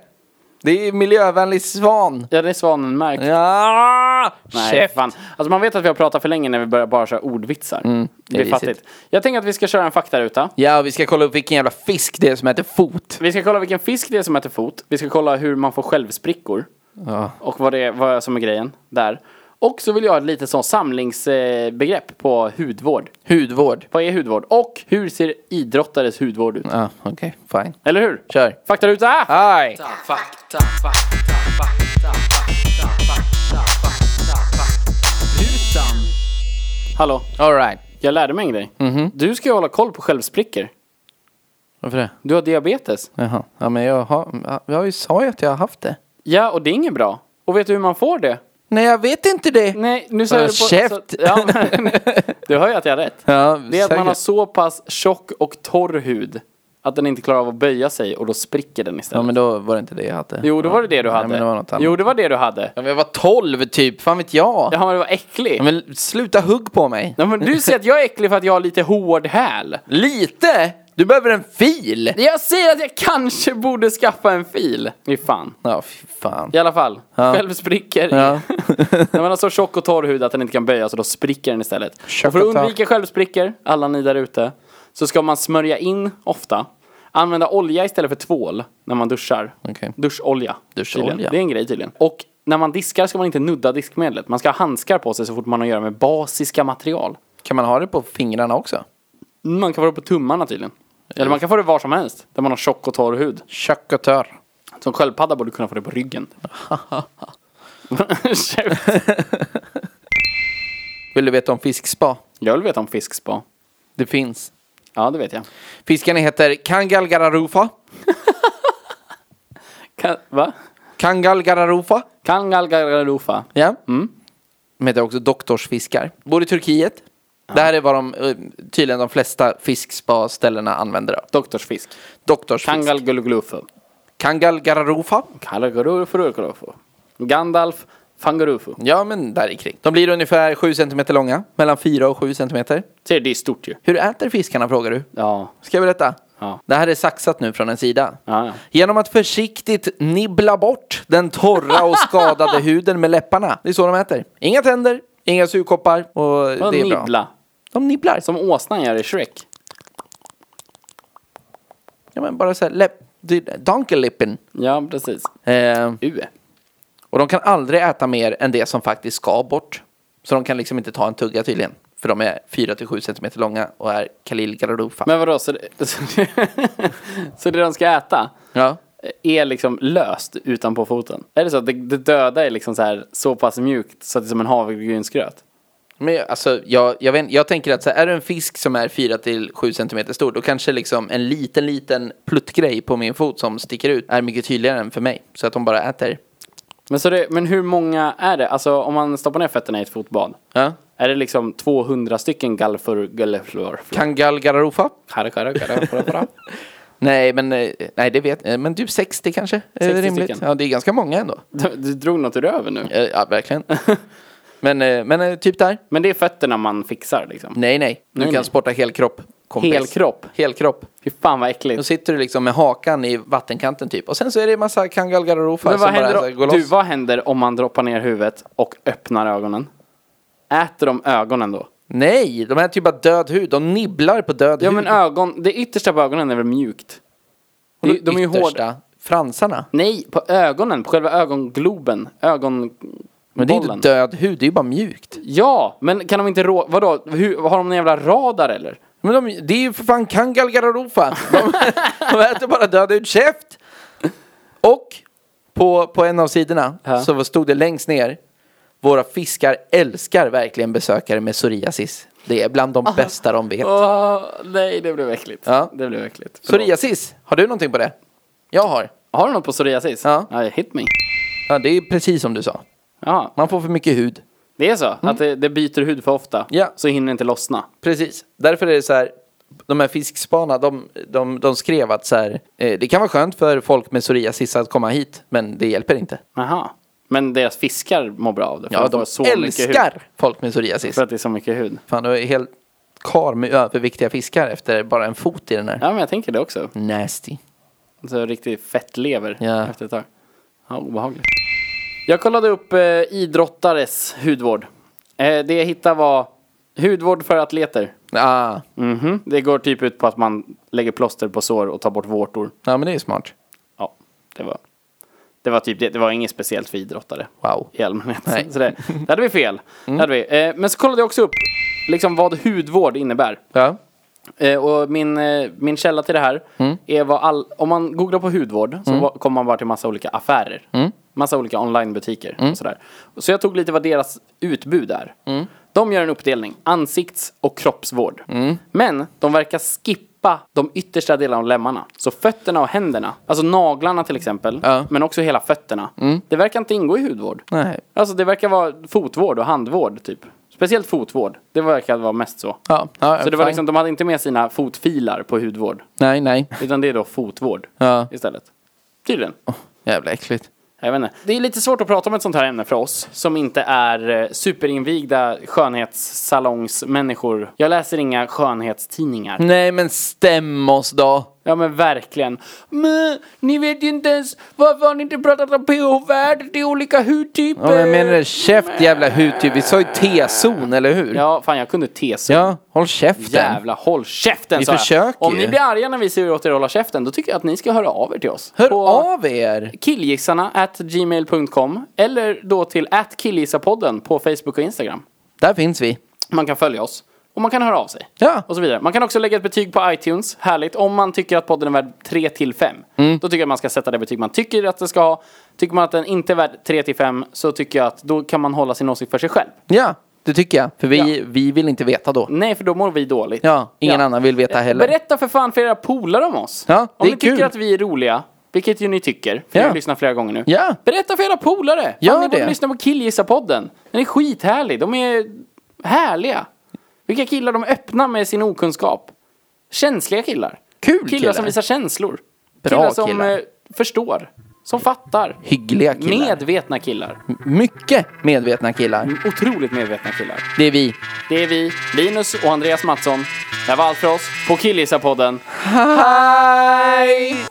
S2: Det är miljövänlig svan.
S1: Ja, det är svanen märkt.
S2: Ja!
S1: Nej,
S2: Chef.
S1: fan. Alltså man vet att vi har pratat för länge när vi börjar bara köra ordvitsar.
S2: Mm, det
S1: det,
S2: är
S1: är
S2: risigt.
S1: fattigt. Jag tänker att vi ska köra en faktaruta.
S2: Ja, vi ska kolla upp vilken jävla fisk det är som heter fot.
S1: Vi ska kolla vilken fisk det är som äter fot. Vi ska kolla hur man får självsprickor. Och vad det är, vad som är grejen där. Och så vill jag ha ett litet sånt samlingsbegrepp på hudvård.
S2: Hudvård.
S1: Vad är hudvård? Och hur ser idrottares hudvård ut?
S2: Ja, okej, fine.
S1: Eller hur?
S2: Kör.
S1: Faktaruta!
S2: Aj!
S1: Hallå,
S2: All right.
S1: jag lärde mig en grej.
S2: Mhm.
S1: Du ska ju hålla koll på självsprickor.
S2: Varför det?
S1: Du har diabetes.
S2: Jaha. Ja, men jag har, ja, jag har ju sa ju att jag har haft det.
S1: Ja, och det är inget bra. Och vet du hur man får det?
S2: Nej, jag vet inte det.
S1: Nej, nu säger
S2: Äh,
S1: du på...
S2: käft.
S1: Så, ja,
S2: *laughs*
S1: men, du hör ju att jag har rätt.
S2: Ja,
S1: det är att man alltså-
S2: säkert.
S1: har så pass tjock och torr hud att den inte klarar av att böja sig och då spricker den istället.
S2: Ja, men då var det inte det jag hade.
S1: Jo, då var det det du hade.
S2: men det var något annat.
S1: Jo, det var det du hade.
S2: Ja, men jag var 12 typ, fan vet jag.
S1: Ja, men du var äcklig.
S2: Ja, men sluta hugg på mig.
S1: Ja, men du säger att jag är äcklig för att jag har lite hård häl.
S2: Lite? Du behöver en fil!
S1: Jag säger att jag kanske borde skaffa en fil. Fy fan.
S2: Ja, fy fan.
S1: I alla fall, självsprickor. *laughs*
S2: Ja.
S1: När man har så tjock och torr hud att den inte kan böja så då spricker den istället.
S2: Tjock
S1: och för
S2: och
S1: att
S2: torr.
S1: undvika självsprickor, alla ni där ute, så ska man smörja in ofta. Använda olja istället för tvål när man duschar.
S2: Okej.
S1: Duscholja.
S2: Duscholja.
S1: tydligen. Det är en grej tydligen. Och när man diskar ska man inte nudda diskmedlet. Man ska ha handskar på sig så fort man har att göra med basiska material.
S2: Kan man ha det på fingrarna också?
S1: Man kan få det på tummarna tydligen. Eller man kan få det var som helst, där man har tjock och torr hud.
S2: Tjock och törr.
S1: Som sköldpadda borde du kunna få det på ryggen.
S2: *laughs*
S1: *laughs* Käft.
S2: Vill du veta om fiskspa?
S1: jag vill veta om fiskspa.
S2: Det finns.
S1: Ja, det vet jag.
S2: Fiskarna heter Kangalgararufa.
S1: Kan, va?
S2: Kangalgararufa.
S1: Kangalgalalufa.
S2: Ja.
S1: Mm.
S2: De heter också doktorsfiskar. Bor i Turkiet. Det här är vad de, eh, tydligen de flesta fiskspa-ställena använder. då.
S1: Doktorsfisk.
S2: Doktorsfisk.
S1: Kangalguluglufu.
S2: Kangalgararufa.
S1: Kalagurufurukulufu. Gandalf. Fangurufu.
S2: Ja, men där i kring. De blir ungefär 7 cm långa. Mellan 4 och 7 cm.
S1: Ser du, det är stort ju.
S2: Hur äter fiskarna frågar du?
S1: Ja.
S2: Ska jag berätta?
S1: Ja.
S2: Det här är saxat nu från en sida.
S1: Ja, ja.
S2: Genom att försiktigt nibbla bort den torra och
S1: *laughs*
S2: skadade huden med läpparna. Det är så de äter. Inga tänder, inga sugkoppar och
S1: Vad
S2: det är bra.
S1: nibbla.
S2: De nibblar.
S1: Som åsnan gör i Shrek.
S2: Ja, men bara så här, läpp... Donkelippen.
S1: Ja, precis.
S2: Eh,
S1: U.
S2: och de kan aldrig äta mer än det som faktiskt ska bort. Så de kan liksom inte ta en tugga tydligen. För de är 4-7 cm långa och är Khalil Gararufa.
S1: Men vadå, så det, *laughs* så det, så det de ska äta
S2: Ja.
S1: är liksom löst utanpå foten? Är det så att det, det döda är liksom så här så pass mjukt så att det är som en havregrynsgröt?
S2: Men jag- alltså, jag, jag, vet, jag tänker att så här, är det en fisk som är 4-7 cm stor, då kanske liksom en liten, liten pluttgrej på min fot som sticker ut är mycket tydligare än för mig. Så att de bara äter
S1: Men, så det, men hur många är det? Alltså om man stoppar ner fötterna i ett fotbad.
S2: Ja.
S1: Är det liksom 200 stycken gallfur... Gallflor?
S2: Kangal Gararufa?
S1: Karra,
S2: *laughs*
S1: karra, karra, karra, *laughs* karra.
S2: Nej, men, eh, nej, det vet eh, Men du, 60 kanske? Är det
S1: 60
S2: rimligt?
S1: stycken.
S2: Ja, det är ganska många ändå.
S1: Du, du drog något ur över nu.
S2: Eh, Ja,
S1: *laughs*
S2: verkligen. men, eh, men eh, typ där?
S1: Men det är fötterna man fixar liksom.
S2: Nej, nej. Du
S1: Nej,
S2: kan
S1: nej.
S2: sporta helkropp. kompis.
S1: Helkropp?
S2: Helkropp.
S1: Fy fan vad
S2: Då
S1: äckligt.
S2: sitter du liksom med hakan i vattenkanten typ. Och sen så är det en massa Kangal Gararufa
S1: Men
S2: som
S1: vad
S2: bara så här,
S1: händer,
S2: går
S1: om- du,
S2: loss.
S1: vad händer om man droppar ner huvudet och öppnar ögonen? Äter de ögonen då?
S2: Nej, de här typ bara död hud. De nibblar på död
S1: Ja
S2: hud. *laughs*
S1: men ögon, det yttersta på ögonen är väl mjukt?
S2: Och
S1: De, de är ju
S2: yttersta,
S1: hårda.
S2: Fransarna.
S1: Nej, på ögonen, på själva ögongloben. Ögonbollen.
S2: Men det är ju inte död hud, det är ju bara mjukt.
S1: Ja, men kan de inte rå... Vadå, hur, har de någon jävla radar eller?
S2: Men de, det är ju för fan Kangal Gararufa.
S1: *laughs*
S2: De, de äter bara död ut käft. Och på, på en av sidorna
S1: Ja.
S2: så stod det längst ner. Våra fiskar älskar verkligen besökare med psoriasis. Det är bland de bästa de vet.
S1: Åh, nej, det blev äckligt.
S2: Ja.
S1: Det blev äckligt. Förlåt.
S2: Psoriasis, har du någonting på det? Jag har.
S1: Har du något på psoriasis?
S2: Ja.
S1: hit me.
S2: Ja, det är precis som du sa.
S1: Ja,
S2: Man får för mycket hud.
S1: det är så? Att det, det byter hud för ofta?
S2: Ja.
S1: Så hinner det inte lossna?
S2: Precis. Därför är det så här. De här fiskspana, de, de, de skrev att så här, eh, det kan vara skönt för folk med psoriasis att komma hit, men det hjälper inte.
S1: Aha. Men deras fiskar mår bra av det? för
S2: Ja,
S1: får
S2: de
S1: så mycket hud.
S2: älskar folk med psoriasis.
S1: För att det är så mycket hud.
S2: Fan, du är helt kar med överviktiga fiskar efter bara en fot i den här.
S1: Ja, men jag tänker det också.
S2: Nasty.
S1: Så riktigt fett lever
S2: Ja.
S1: efter ett tag. Ja, obehagligt. Jag kollade upp eh, idrottares hudvård. Eh, det jag hittade var hudvård för atleter.
S2: Ah,
S1: Mhm. Det går typ ut på att man lägger plåster på sår och tar bort vårtor.
S2: ja, men det är smart.
S1: Ja, det var, det var typ det. Det var inget speciellt för idrottare
S2: Wow.
S1: i allmänhet.
S2: Nej.
S1: *laughs*
S2: Mm.
S1: Så det, det hade vi fel. Det hade vi. Eh, men så kollade jag också upp liksom, vad hudvård innebär.
S2: Ja.
S1: Eh, och min, eh, min källa till det här
S2: Mm.
S1: är vad all, om man googlar på hudvård så va- kommer man bara till massa olika affärer.
S2: Mm.
S1: Massa olika onlinebutiker och sådär. Så jag tog lite vad deras utbud är.
S2: Mm.
S1: De gör en uppdelning, ansikts och kroppsvård.
S2: Mm.
S1: Men de verkar skippa de yttersta delarna av lemmarna. Så fötterna och händerna, alltså naglarna till exempel,
S2: Ja. Mm.
S1: men också hela fötterna. Det verkar inte ingå i hudvård.
S2: Nej.
S1: Alltså det verkar vara fotvård och handvård typ. Speciellt fotvård, det verkar vara mest så.
S2: Ja, ja,
S1: Så det var
S2: fine.
S1: liksom, de hade inte med sina fotfilar på hudvård.
S2: Nej, nej.
S1: Utan det är då fotvård
S2: Ja.
S1: istället. Tydligen.
S2: Jävla äckligt.
S1: Jag vet inte. Det är lite svårt att prata om ett sånt här ämne för oss som inte är eh, superinvigda skönhetssalongsmänniskor. Jag läser inga skönhetstidningar.
S2: Nej, men stäm oss då.
S1: Ja men verkligen. Men ni vet ju inte ens varför har ni inte pratat om pH-värdet i olika hudtyper?
S2: Ja, men jag menar det, käft jävla hudtyp. Vi sa ju T-zon, eller hur?
S1: Ja, fan jag kunde tesa.
S2: Ja, håll käften.
S1: Jävla håll käften
S2: Vi
S1: sa jag.
S2: försöker
S1: Om
S2: ju.
S1: ni blir arga när vi säger åt er att hålla käften då tycker jag att ni ska höra av er till oss.
S2: Hör
S1: På-
S2: av er!
S1: killgissarna at gmail.com eller då till at killgissapodden på Facebook och Instagram.
S2: Där finns vi.
S1: Man kan följa oss och man kan höra av sig.
S2: Ja.
S1: Och så vidare. Man kan också lägga ett betyg på iTunes, härligt. Om man tycker att podden är värd 3 till 5, då tycker jag att man ska sätta det betyg man tycker att den ska ha. Tycker man att den inte är värd 3 till 5 så tycker jag att då kan man hålla sin åsikt för sig själv.
S2: Ja, det tycker jag. För vi, vi vill inte veta då.
S1: Nej, för då mår vi dåligt. Eh,
S2: Ja, ingen annan vill veta heller.
S1: Berätta för fan för era polare om oss.
S2: Ja,
S1: om
S2: det är
S1: ni tycker
S2: kul.
S1: att vi är roliga, vilket ju ni tycker, för
S2: Ja.
S1: ni har lyssnat flera gånger nu.
S2: Ja.
S1: Berätta för era polare!
S2: Gör
S1: Fan, ni borde
S2: det.
S1: lyssna på Killgissa-podden. Den är skithärlig, de är härliga. Vilka killar, de är öppna med sin okunskap. Känsliga killar.
S2: Kul
S1: killar.
S2: killar.
S1: som visar känslor.
S2: Bra
S1: killar som
S2: killar.
S1: eh, förstår. Som fattar.
S2: Hyggliga killar.
S1: Medvetna killar.
S2: Mycket medvetna killar.
S1: Otroligt medvetna killar.
S2: Det är vi.
S1: Det är vi, Linus och Andreas Mattsson. Det här var allt för oss på Killgissa-podden.
S2: Hej!